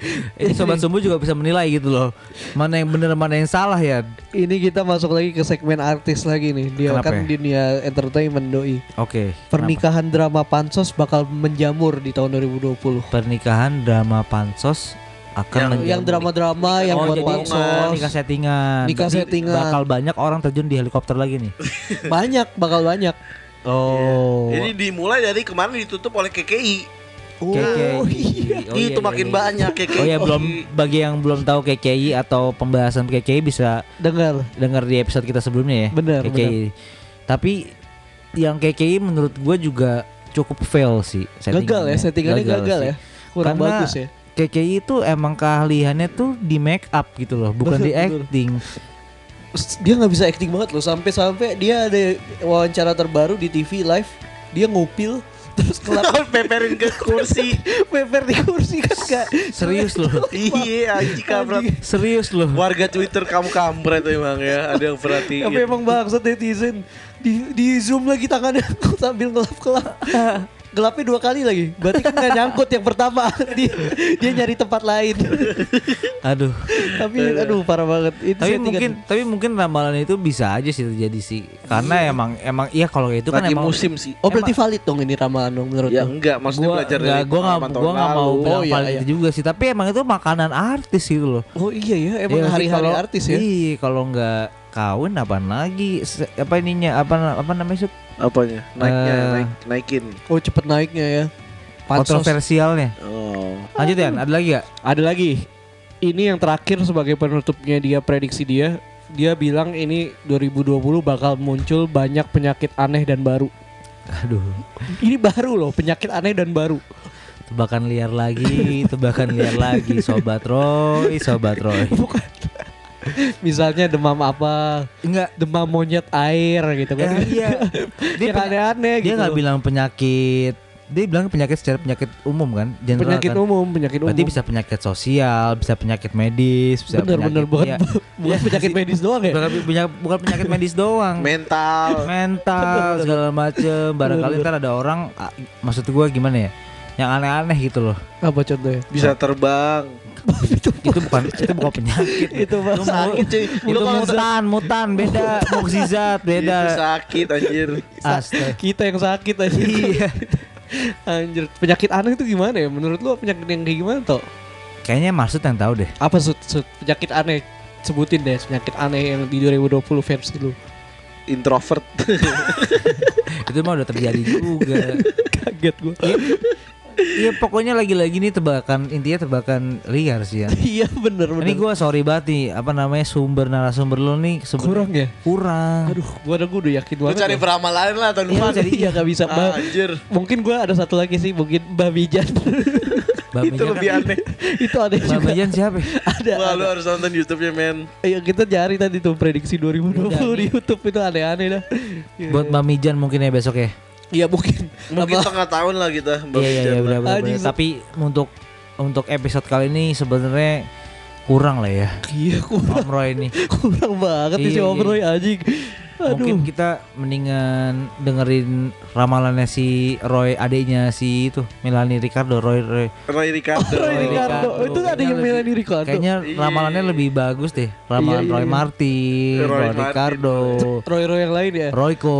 Speaker 2: Eh, ini sobat sumbu juga bisa menilai gitu loh mana yang bener mana yang salah ya
Speaker 1: Ini kita masuk masuk lagi ke segmen artis lagi nih. Dia
Speaker 2: Kenapa
Speaker 1: kan
Speaker 2: ya?
Speaker 1: dunia entertainment doi.
Speaker 2: Oke.
Speaker 1: Pernikahan drama Pansos bakal menjamur di tahun 2020.
Speaker 2: kenapa? pernikahan drama pansos akan
Speaker 1: Yang- yang drama-drama yang buat
Speaker 2: Oh, jadi oh, kan
Speaker 1: pansos.
Speaker 2: nikah settingan.
Speaker 1: Nikah
Speaker 2: Jadi
Speaker 1: settingan.
Speaker 2: Bakal banyak orang terjun di helikopter lagi nih.
Speaker 1: Banyak bakal banyak.
Speaker 2: Oh.
Speaker 3: Ini dimulai dari kemarin ditutup oleh KKI.
Speaker 2: KKI.
Speaker 1: Oh iya.
Speaker 2: Oh, iya, iya,
Speaker 3: Itu makin
Speaker 2: iya.
Speaker 3: banyak KKI.
Speaker 2: Oh ya belum bagi yang belum tahu KKI atau pembahasan KKI bisa
Speaker 1: Dengar.
Speaker 2: dengar di episode kita sebelumnya ya.
Speaker 1: Benar,
Speaker 2: KKI. Tapi yang KKI menurut gue juga cukup fail sih.
Speaker 1: Gagal ya settingannya gagal,
Speaker 2: sih.
Speaker 1: ya. Kurang
Speaker 2: Karena
Speaker 1: bagus ya.
Speaker 2: KKI itu emang keahliannya tuh di make up gitu loh, bukan
Speaker 1: Betul,
Speaker 2: di
Speaker 1: betul.
Speaker 2: acting.
Speaker 1: dia nggak bisa acting banget loh sampai-sampai dia ada wawancara terbaru di TV live dia ngupil terus kelap
Speaker 3: Peperin ke kursi.
Speaker 1: meper di kursi kan gak
Speaker 2: Serius loh.
Speaker 3: iya, anjing kabret.
Speaker 2: Serius loh.
Speaker 3: Warga Twitter kamu kampret emang ya. Ada yang perhatiin.
Speaker 1: tapi emang bangsat netizen di, di zoom lagi tangannya sambil ngelap-kelap gelapnya dua kali lagi berarti kan nggak nyangkut yang pertama dia, dia nyari tempat lain
Speaker 2: Aduh.
Speaker 1: tapi aduh parah banget itu
Speaker 2: Tapi
Speaker 1: settingan.
Speaker 2: mungkin tapi mungkin ramalan itu bisa aja sih terjadi sih. Karena emang emang iya kalau itu kan
Speaker 3: Lagi
Speaker 2: emang
Speaker 3: musim sih.
Speaker 1: oh berarti valid dong ini ramalan dong menurut
Speaker 3: Ya
Speaker 1: lo?
Speaker 3: enggak, maksudnya
Speaker 2: gua
Speaker 3: belajar
Speaker 2: nggak-
Speaker 3: dari
Speaker 2: gua nggak
Speaker 3: pengalaman
Speaker 2: gua nggak mau
Speaker 3: lalu.
Speaker 2: bilang
Speaker 1: Oh, iya,
Speaker 2: valid
Speaker 1: iya.
Speaker 2: itu juga sih tapi emang itu makanan artis gitu loh
Speaker 1: oh iya ya emang
Speaker 2: Ya, tapi
Speaker 1: hari-hari
Speaker 2: kalau-
Speaker 1: artis ya
Speaker 2: iya kalau nggak kawin apaan lagi Se- apa ininya apa apa namanya Sud?
Speaker 3: Apanya? Naiknya,
Speaker 2: Eh.
Speaker 3: naik, naikin.
Speaker 1: oh cepet naiknya ya Pansos.
Speaker 2: kontroversialnya
Speaker 3: Oh.
Speaker 2: lanjut ya ada lagi gak
Speaker 1: Ada lagi. Ini yang terakhir sebagai penutupnya dia prediksi dia. Dia bilang ini 2020 bakal muncul banyak penyakit aneh dan baru.
Speaker 2: aduh
Speaker 1: Ini baru loh, penyakit aneh dan baru.
Speaker 2: tebakan liar lagi tebakan liar lagi sobat Roy sobat Roy
Speaker 1: Bukan. Misalnya demam apa?
Speaker 2: enggak
Speaker 1: Demam monyet air gitu kan.
Speaker 2: Ya, iya. Dia
Speaker 1: Dia
Speaker 2: penya-
Speaker 1: aneh-aneh
Speaker 2: dia
Speaker 1: gitu.
Speaker 2: nggak
Speaker 1: loh.
Speaker 2: bilang penyakit dia bilang penyakit secara penyakit umum kan general
Speaker 1: penyakit
Speaker 2: kan?
Speaker 1: umum, penyakit umum.
Speaker 2: berarti bisa penyakit sosial bisa penyakit medis bisa
Speaker 1: bener-bener
Speaker 2: penyakit-
Speaker 1: bukan,
Speaker 2: iya.
Speaker 1: bukan penyakit medis doang ya.
Speaker 2: Bukan, punya- bukan penyakit medis doang
Speaker 3: Mental.
Speaker 2: mental segala macem barangkali ntar ada orang ah, maksud gua gimana ya yang aneh-aneh gitu loh
Speaker 1: Apa contohnya?
Speaker 3: Bisa terbang.
Speaker 2: itu bukan itu bukan penyakit
Speaker 1: Itu bahasa
Speaker 2: mu-
Speaker 3: sakit, cuy.
Speaker 2: itu
Speaker 3: Lu kalau
Speaker 2: mutan mutan beda mukjizat beda
Speaker 3: Itu sakit anjir.
Speaker 2: astaga
Speaker 1: kita yang sakit aja.
Speaker 2: Iya.
Speaker 1: Anjir, penyakit aneh itu gimana ya? Menurut lu penyakit yang kayak gimana toh?
Speaker 2: kayaknya maksud yang tahu deh
Speaker 1: Apa sud, Sud? penyakit aneh? Sebutin deh penyakit aneh yang di 2020 versi lu.
Speaker 3: Introvert.
Speaker 2: itu mah udah terjadi juga
Speaker 1: Kaget gua.
Speaker 2: Iya pokoknya lagi-lagi nih tebakan intinya tebakan liar sih ya.
Speaker 1: Iya bener bener.
Speaker 2: Ini gua sorry banget nih apa namanya sumber narasumber lo nih sebenarnya-
Speaker 1: kurang ya.
Speaker 2: kurang.
Speaker 1: Aduh, gua udah gua udah yakin
Speaker 3: Lu
Speaker 1: banget. ya.
Speaker 3: cari beramal lain lah tahun
Speaker 1: Iya,
Speaker 3: depan.
Speaker 1: jadi iya gak bisa Mbak.
Speaker 3: Anjir.
Speaker 1: Mungkin gua ada satu lagi sih, mungkin Babijan.
Speaker 2: Babijan
Speaker 3: Itu
Speaker 2: kan-
Speaker 3: lebih aneh.
Speaker 1: itu aneh juga.
Speaker 2: Babijan siapa? ya?
Speaker 1: Ada.
Speaker 3: Wah, lu
Speaker 1: ada.
Speaker 3: harus nonton YouTube-nya, men.
Speaker 1: Iya, kita cari tadi tuh prediksi 2020
Speaker 2: Udah,
Speaker 1: di YouTube itu aneh-aneh dah. Iya.
Speaker 2: Buat Mamijan mungkin ya besok ya.
Speaker 1: Iya mungkin.
Speaker 3: Mungkin
Speaker 1: Apa-
Speaker 3: tengah tahun lah kita. Bang
Speaker 2: Iya iya iya
Speaker 3: Jan, lah.
Speaker 2: benar benar.
Speaker 1: Anjing,
Speaker 2: benar.
Speaker 1: Sud.
Speaker 2: Tapi untuk untuk episode kali ini sebenarnya kurang lah ya.
Speaker 1: Iya, kurang,
Speaker 2: Om Roy ini.
Speaker 1: kurang banget nih si
Speaker 2: Iya,
Speaker 1: Om
Speaker 2: iya.
Speaker 1: Roy anjing. Aduh.
Speaker 2: Mungkin gitu. kita mendingan dengerin ramalannya si Roy adiknya si itu Milani Ricardo Roy Roy.
Speaker 3: Roy Ricardo.
Speaker 1: Roy Ricardo.
Speaker 2: Ricardo.
Speaker 1: Itu ada yang
Speaker 2: Kayaknya
Speaker 1: Melanie
Speaker 2: lebih-
Speaker 1: Ricardo.
Speaker 2: Kayaknya
Speaker 3: Iya.
Speaker 2: ramalannya lebih bagus deh. Ramalan
Speaker 1: Iya, iya,
Speaker 2: Roy
Speaker 1: iya.
Speaker 2: Martin,
Speaker 3: Roy
Speaker 2: Roy,
Speaker 3: Martin,
Speaker 2: Ricardo,
Speaker 1: Roy Roy yang lain ya.
Speaker 2: Royko.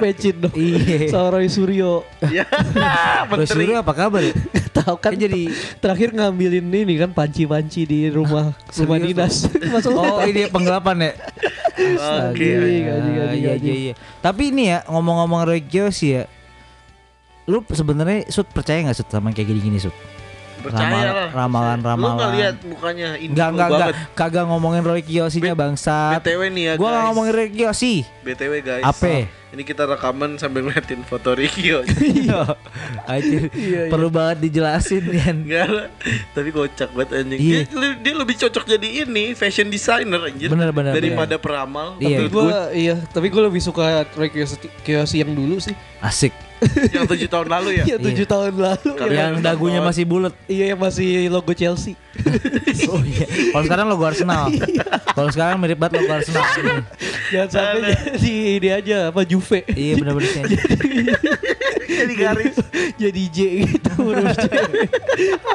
Speaker 1: Pecin dong.
Speaker 2: Iya.
Speaker 1: Sama Roy Suryo.
Speaker 3: Ya,
Speaker 2: Roy
Speaker 3: menteri.
Speaker 2: Suryo apa kabar? ya?
Speaker 1: Tahu kan
Speaker 2: Kan jadi
Speaker 1: terakhir ngambilin ini kan panci-panci di rumah rumah
Speaker 2: Ah, serius
Speaker 1: dinas. Masuk
Speaker 2: Oh, ini penggelapan ya.
Speaker 3: Oke.
Speaker 1: Anjing, anjing,
Speaker 2: Ah,
Speaker 1: anjing,
Speaker 2: iya, iya,
Speaker 1: anjing.
Speaker 2: iya. Tapi ini ya ngomong-ngomong Royko sih ya. Lu sebenarnya Sud percaya nggak Sud sama kayak gini-gini Sud? Ramalan-
Speaker 3: Percaya lah. Lu nggak
Speaker 2: ramalan-ramalan.
Speaker 3: lihat mukanya ini
Speaker 2: Enggak, enggak, enggak.
Speaker 3: banget.
Speaker 2: Kagak ngomongin Roy Kiyoshinya bangsat.
Speaker 3: BTW nih ya,
Speaker 2: Gua nggak
Speaker 3: guys.
Speaker 2: ngomongin Roy Kiyoshi.
Speaker 3: BTW guys.
Speaker 2: Apa?
Speaker 3: Ini kita rekaman sambil ngeliatin foto oh. Rikio.
Speaker 2: Iya. Anjir,
Speaker 3: iya.
Speaker 2: perlu banget dijelasin Yan.
Speaker 3: Enggak lah. Tapi kocak banget anjing.
Speaker 2: Iya.
Speaker 3: Dia, lu- dia lebih cocok jadi ini fashion designer anjir.
Speaker 2: Bener, bener,
Speaker 3: Daripada peramal.
Speaker 2: Iya.
Speaker 1: Tapi gue iya, tapi gue lebih suka Roy Kiyoshi, Kiyoshi yang dulu sih.
Speaker 2: Asik.
Speaker 3: Yang 7 tahun lalu ya.
Speaker 1: Iya, tujuh tahun lalu.
Speaker 3: Karena-
Speaker 1: Yang-
Speaker 2: Yang dagunya masih bulat.
Speaker 1: Iya yang masih logo Chelsea.
Speaker 2: oh iya. Kalau sekarang logo Arsenal.
Speaker 3: Iya.
Speaker 2: Kalau sekarang mirip banget logo Arsenal.
Speaker 1: Jangan sampai jadi ini aja apa Juve.
Speaker 2: iya benar-benar sih.
Speaker 3: Jadi garis.
Speaker 1: jadi J gitu huruf J.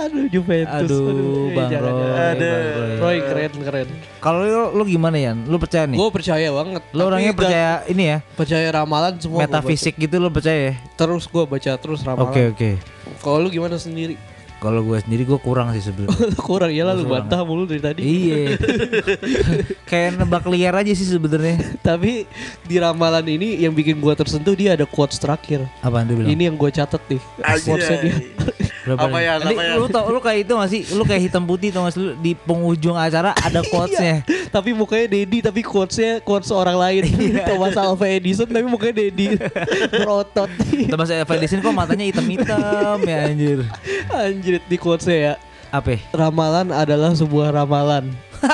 Speaker 1: Aduh Juventus.
Speaker 2: Aduh,
Speaker 1: eh,
Speaker 2: Bang
Speaker 1: jangan,
Speaker 2: Roy.
Speaker 1: jangan.
Speaker 3: Aduh.
Speaker 2: Bang Roy.
Speaker 1: Roy keren keren.
Speaker 2: Kalau lu, lu gimana ya? Lu percaya nih?
Speaker 1: Gue percaya banget.
Speaker 2: Lu orangnya
Speaker 1: Tapi gak-
Speaker 2: percaya ini ya?
Speaker 1: percaya ramalan semua. gua baca.
Speaker 2: Metafisik gitu lu percaya ya?
Speaker 1: Terus gue baca terus ramalan.
Speaker 2: Oke oke.
Speaker 1: Kalau lu gimana sendiri?
Speaker 2: Kalau gue sendiri gue kurang sih sebelumnya.
Speaker 1: lu kurang ya lu
Speaker 2: Kurang.
Speaker 1: bantah mulu dari tadi.
Speaker 2: iya. Kayak nebak liar aja sih sebenarnya.
Speaker 1: Tapi di ramalan ini yang bikin gue tersentuh dia ada quotes terakhir.
Speaker 2: Apaan dia bilang?
Speaker 1: Ini yang gue catet nih. Quotesnya
Speaker 3: Anjay.
Speaker 1: dia.
Speaker 2: Berapa
Speaker 3: Apa
Speaker 2: nih?
Speaker 3: ya?
Speaker 2: Ini
Speaker 3: Apa ya?
Speaker 2: lu tau lu kayak itu masih lu kayak hitam putih tau gak sih? lu di penghujung acara ada
Speaker 3: Iya.
Speaker 2: quotesnya
Speaker 1: tapi mukanya Dedi tapi quotesnya quotes orang lain.
Speaker 2: Iya.
Speaker 1: Thomas Alva Edison tapi mukanya Dedi berotot.
Speaker 2: Tambah saya Edison kok matanya hitam-hitam ya anjir
Speaker 1: Anjir di quotesnya ya.
Speaker 2: Apa ya?
Speaker 1: Ramalan adalah sebuah ramalan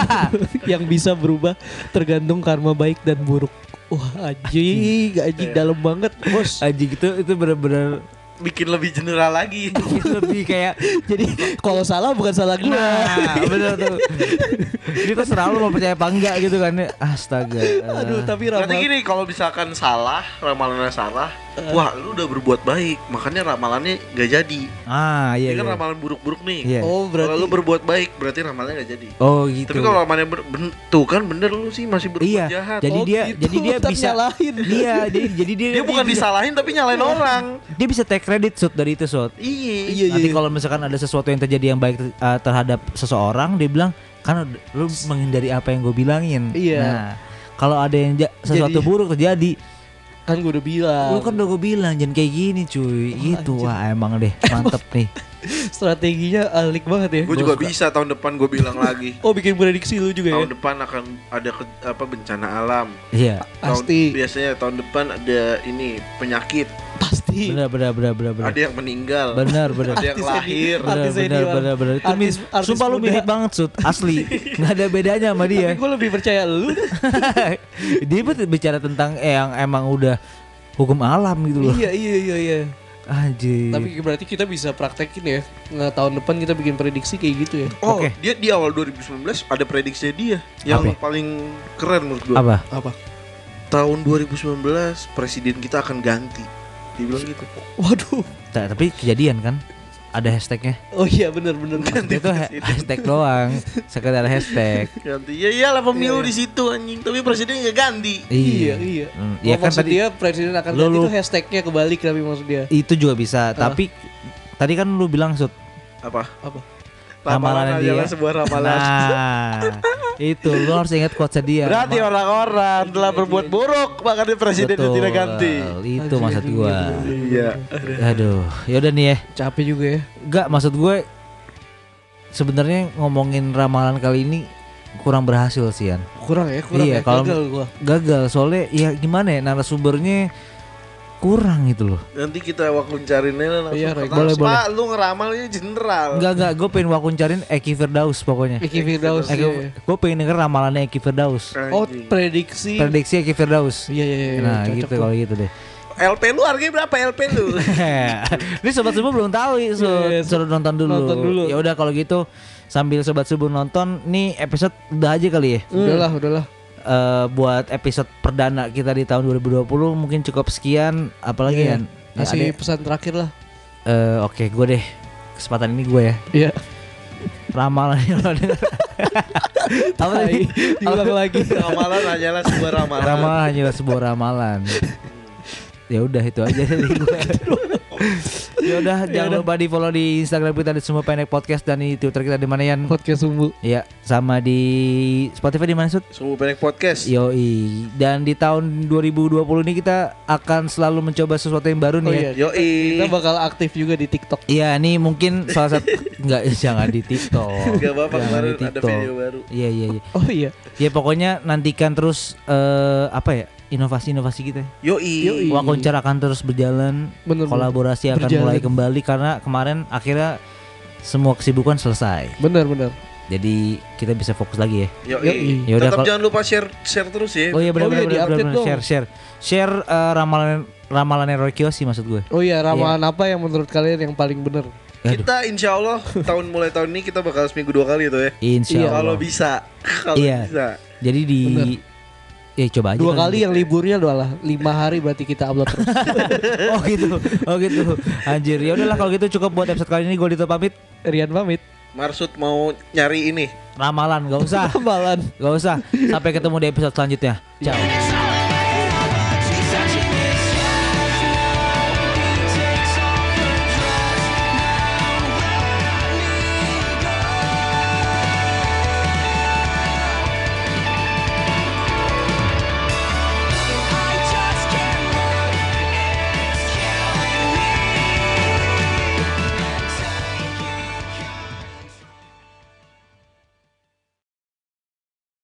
Speaker 1: yang bisa berubah tergantung karma baik dan buruk. Wah anjing,
Speaker 2: Iya.
Speaker 1: anjing dalam banget bos.
Speaker 2: Anjing itu gitu, itu bener-bener
Speaker 3: Bikin lebih general
Speaker 2: Iya,
Speaker 3: lagi.
Speaker 2: lebih kayak
Speaker 1: Jadi kalau salah bukan salah gue.
Speaker 2: Nah bener tuh Ini terserah lu mau percaya apa enggak gitu kan Astaga
Speaker 1: Aduh tapi
Speaker 3: Berarti
Speaker 1: ramalan.
Speaker 3: gini kalau misalkan salah, ramalannya salah,
Speaker 2: Eh.
Speaker 3: wah lu udah berbuat baik, makanya ramalannya gak jadi.
Speaker 2: Ah iya,
Speaker 3: Ini
Speaker 2: iya.
Speaker 3: kan ramalan buruk-buruk nih.
Speaker 2: Iya.
Speaker 1: Oh
Speaker 3: Kalau
Speaker 1: berarti
Speaker 3: lu berbuat baik, berarti ramalannya gak jadi.
Speaker 2: Oh gitu
Speaker 3: Tapi kalau ramalannya ber- ben- tuh kan bener lu sih masih berbuat
Speaker 2: Iya
Speaker 3: jahat.
Speaker 2: Jadi
Speaker 1: Oh,
Speaker 2: dia
Speaker 1: gitu.
Speaker 2: Jadi dia
Speaker 1: Ntar
Speaker 2: bisa
Speaker 1: nyalahin.
Speaker 2: Iya jadi, jadi dia
Speaker 3: dia bukan
Speaker 2: bisa,
Speaker 3: disalahin tapi nyalain orang.
Speaker 2: Dia bisa take credit shoot dari itu shoot
Speaker 3: Iya.
Speaker 1: iya
Speaker 2: Nanti
Speaker 1: iya.
Speaker 2: kalau misalkan ada sesuatu yang terjadi yang baik eh, terhadap seseorang, dia bilang kan ud- lu menghindari apa yang gue bilangin.
Speaker 1: Iya.
Speaker 2: Nah, kalau ada yang ja-
Speaker 1: Jadi-
Speaker 2: sesuatu buruk terjadi,
Speaker 1: Kan gue udah bilang.
Speaker 2: lu kan udah gue bilang jangan kayak gini, cuy. gitu. Wah, emang deh mantep nih.
Speaker 1: strateginya alik banget ya.
Speaker 3: Gue juga bisa tahun depan gue bilang lagi.
Speaker 1: Oh bikin prediksi lu juga ya.
Speaker 3: Tahun depan akan ada ke- apa bencana alam.
Speaker 2: Iya.
Speaker 3: Tahun-
Speaker 1: Pasti,
Speaker 3: biasanya tahun depan ada ini penyakit,
Speaker 1: pasti.
Speaker 2: Benar benar benar benar benar.
Speaker 3: ada yang meninggal,
Speaker 2: Benar benar.
Speaker 3: ada yang
Speaker 1: Artis
Speaker 3: lahir.
Speaker 1: ini.
Speaker 2: Benar
Speaker 1: Artis
Speaker 2: benar
Speaker 1: senior.
Speaker 2: benar benar. Itu
Speaker 1: Artis-
Speaker 2: mis-
Speaker 1: artis
Speaker 2: Sumpah lu
Speaker 1: muda.
Speaker 2: mirip banget Sud, asli. Nggak ada bedanya sama
Speaker 1: Tapi
Speaker 2: dia.
Speaker 1: gue lebih percaya lu.
Speaker 2: dia bet- bicara tentang yang emang udah hukum alam gitu loh.
Speaker 1: iya iya iya iya.
Speaker 2: Anjir.
Speaker 1: Tapi berarti kita bisa praktekin ya. Nah, tahun depan kita bikin prediksi kayak gitu ya.
Speaker 3: Oh,
Speaker 2: Oke.
Speaker 3: dia di awal 2019 ada prediksinya dia yang
Speaker 2: Apa?
Speaker 3: paling keren menurut gua.
Speaker 2: apa?
Speaker 1: Apa?
Speaker 3: Tahun 2019 presiden kita akan ganti. Dia bilang gitu.
Speaker 1: Waduh.
Speaker 2: Ta- tapi kejadian kan ada hashtagnya
Speaker 1: Oh iya bener bener
Speaker 2: Maksudnya itu ha- hashtag doang sekedar hashtag
Speaker 3: Ganti. Ya iyalah pemilu di situ anjing, tapi presiden nggak ganti.
Speaker 1: iya iya.
Speaker 2: Hmm,
Speaker 1: Iya
Speaker 2: iya kan
Speaker 1: maksud
Speaker 2: tadi
Speaker 1: dia presiden akan
Speaker 2: Lu-
Speaker 1: ganti
Speaker 2: lu-
Speaker 1: itu hashtagnya kebalik tapi maksud dia.
Speaker 2: itu juga bisa tapi tadi kan lu bilang sud
Speaker 3: Apa?
Speaker 1: Apa?
Speaker 2: Ramalan dia.
Speaker 3: adalah sebuah ramalan.
Speaker 2: nah itu lu harus ingat quotes dia
Speaker 3: Berarti
Speaker 2: Ma-
Speaker 3: orang-orang telah berbuat buruk makanya presiden
Speaker 2: Iya, Betul,
Speaker 3: tidak ganti.
Speaker 2: itu maksud gua
Speaker 3: Iya.
Speaker 2: aduh yaudah nih ya
Speaker 1: Capek juga ya.
Speaker 2: Enggak maksud gue sebenarnya ngomongin ramalan kali ini kurang berhasil sih Yan.
Speaker 1: Kurang ya, kurang
Speaker 2: Iya,
Speaker 1: ya.
Speaker 2: kalau-
Speaker 1: Gagal gua.
Speaker 2: gagal soalnya ya gimana ya narasumbernya kurang gitu loh
Speaker 3: Nanti kita wakuncarin aja langsung.
Speaker 1: Iya,
Speaker 3: ke
Speaker 1: Roy.
Speaker 3: Mas.
Speaker 2: Boleh, boleh.
Speaker 3: Pak, lu ngeramalnya jenderal.
Speaker 2: Enggak enggak gue pengen wakuncarin Eki Firdaus pokoknya
Speaker 1: Eki Firdaus.
Speaker 2: Eki,
Speaker 1: iya.
Speaker 2: gue pengen denger ramalannya Eki Firdaus
Speaker 3: Anjing.
Speaker 1: Oh, prediksi.
Speaker 2: prediksi Eki Firdaus
Speaker 1: Iya iya iya.
Speaker 2: nah
Speaker 1: cocok
Speaker 2: gitu
Speaker 1: tuh.
Speaker 2: kalau gitu deh
Speaker 3: LP lu harganya berapa LP lu?
Speaker 2: ini sobat subuh belum tahu ya, Sud.
Speaker 1: Iya, iya.
Speaker 2: suruh nonton dulu,
Speaker 1: Nonton dulu.
Speaker 2: ya udah kalau gitu sambil sobat subuh nonton nih episode udah aja kali ya
Speaker 1: Udahlah, udahlah.
Speaker 2: Eh, buat episode perdana kita di tahun 2020 mungkin cukup sekian apalagi
Speaker 1: Iya,
Speaker 2: Yan? ya
Speaker 1: Kasih
Speaker 2: ada-
Speaker 1: pesan terakhir lah.
Speaker 2: Eh, oke gue deh kesempatan ini gue ya
Speaker 1: Iya.
Speaker 2: ramalan yang lo denger. apa tadi
Speaker 1: Tai. Diulang lagi.
Speaker 3: ramalan hanyalah sebuah ramalan.
Speaker 2: ramalan hanyalah sebuah ramalan ya udah itu aja dari gue ya udah jangan lupa di follow di instagram kita di semua pendek podcast dan di twitter kita di mana Yan?
Speaker 1: Podcast Sumbu.
Speaker 2: ya sama di spotify di mana Sud?
Speaker 3: Sumbu pendek podcast.
Speaker 2: Iya. Yoi Dan di tahun 2020 ini kita akan selalu mencoba sesuatu yang baru nih
Speaker 1: Oh
Speaker 2: ya.
Speaker 1: iya.
Speaker 3: Yoi.
Speaker 1: Kita bakal aktif juga di TikTok.
Speaker 2: Iya ini mungkin salah satu Enggak jangan di TikTok
Speaker 3: Gak apa-apa
Speaker 2: Jangan
Speaker 3: kemarin
Speaker 2: di
Speaker 3: ada
Speaker 2: TikTok.
Speaker 3: video baru.
Speaker 2: Iya iya iya
Speaker 1: Oh iya.
Speaker 2: Ya pokoknya nantikan terus eh apa ya Inovasi-inovasi kita ya.
Speaker 3: Yoi.
Speaker 1: Yoi.
Speaker 2: Wakoncar akan terus berjalan
Speaker 1: Iya. Bener.
Speaker 2: Kolaborasi akan
Speaker 1: Berjalan.
Speaker 2: mulai kembali Karena kemarin akhirnya Semua kesibukan selesai
Speaker 1: Bener bener.
Speaker 2: Jadi kita bisa fokus lagi ya
Speaker 3: Yoi.
Speaker 1: Yoi.
Speaker 2: Yaudah,
Speaker 3: Tetap
Speaker 2: kalau-
Speaker 3: jangan lupa share share terus ya.
Speaker 2: Oh iya
Speaker 1: Oh iya,
Speaker 2: benar-benar
Speaker 1: di-update dong.
Speaker 2: Share share Share eh, ramalan Ramalannya Roy Kiyoshi maksud gue
Speaker 1: Iya. Oh iya ramalan apa yang menurut kalian yang paling bener?
Speaker 3: Kita insya Allah tahun mulai tahun ini kita bakal seminggu dua kali tuh ya.
Speaker 2: Insya
Speaker 1: Iya.
Speaker 3: Kalau
Speaker 2: Allah.
Speaker 3: bisa, kalau
Speaker 2: Iya.
Speaker 3: bisa.
Speaker 2: Jadi di
Speaker 1: Bener.
Speaker 2: Ya coba aja
Speaker 1: Dua
Speaker 2: kan.
Speaker 1: kali yang liburnya doalah lima hari berarti kita upload terus.
Speaker 2: Oh gitu. Oh gitu. Anjir. Ya udahlah kalau gitu cukup buat episode kali ini gue Dito pamit.
Speaker 1: Rian pamit.
Speaker 3: Marsud mau nyari ini.
Speaker 2: Ramalan gak usah.
Speaker 1: Tambalan.
Speaker 2: Gak usah. Sampai ketemu di episode selanjutnya. Ciao.
Speaker 4: It's all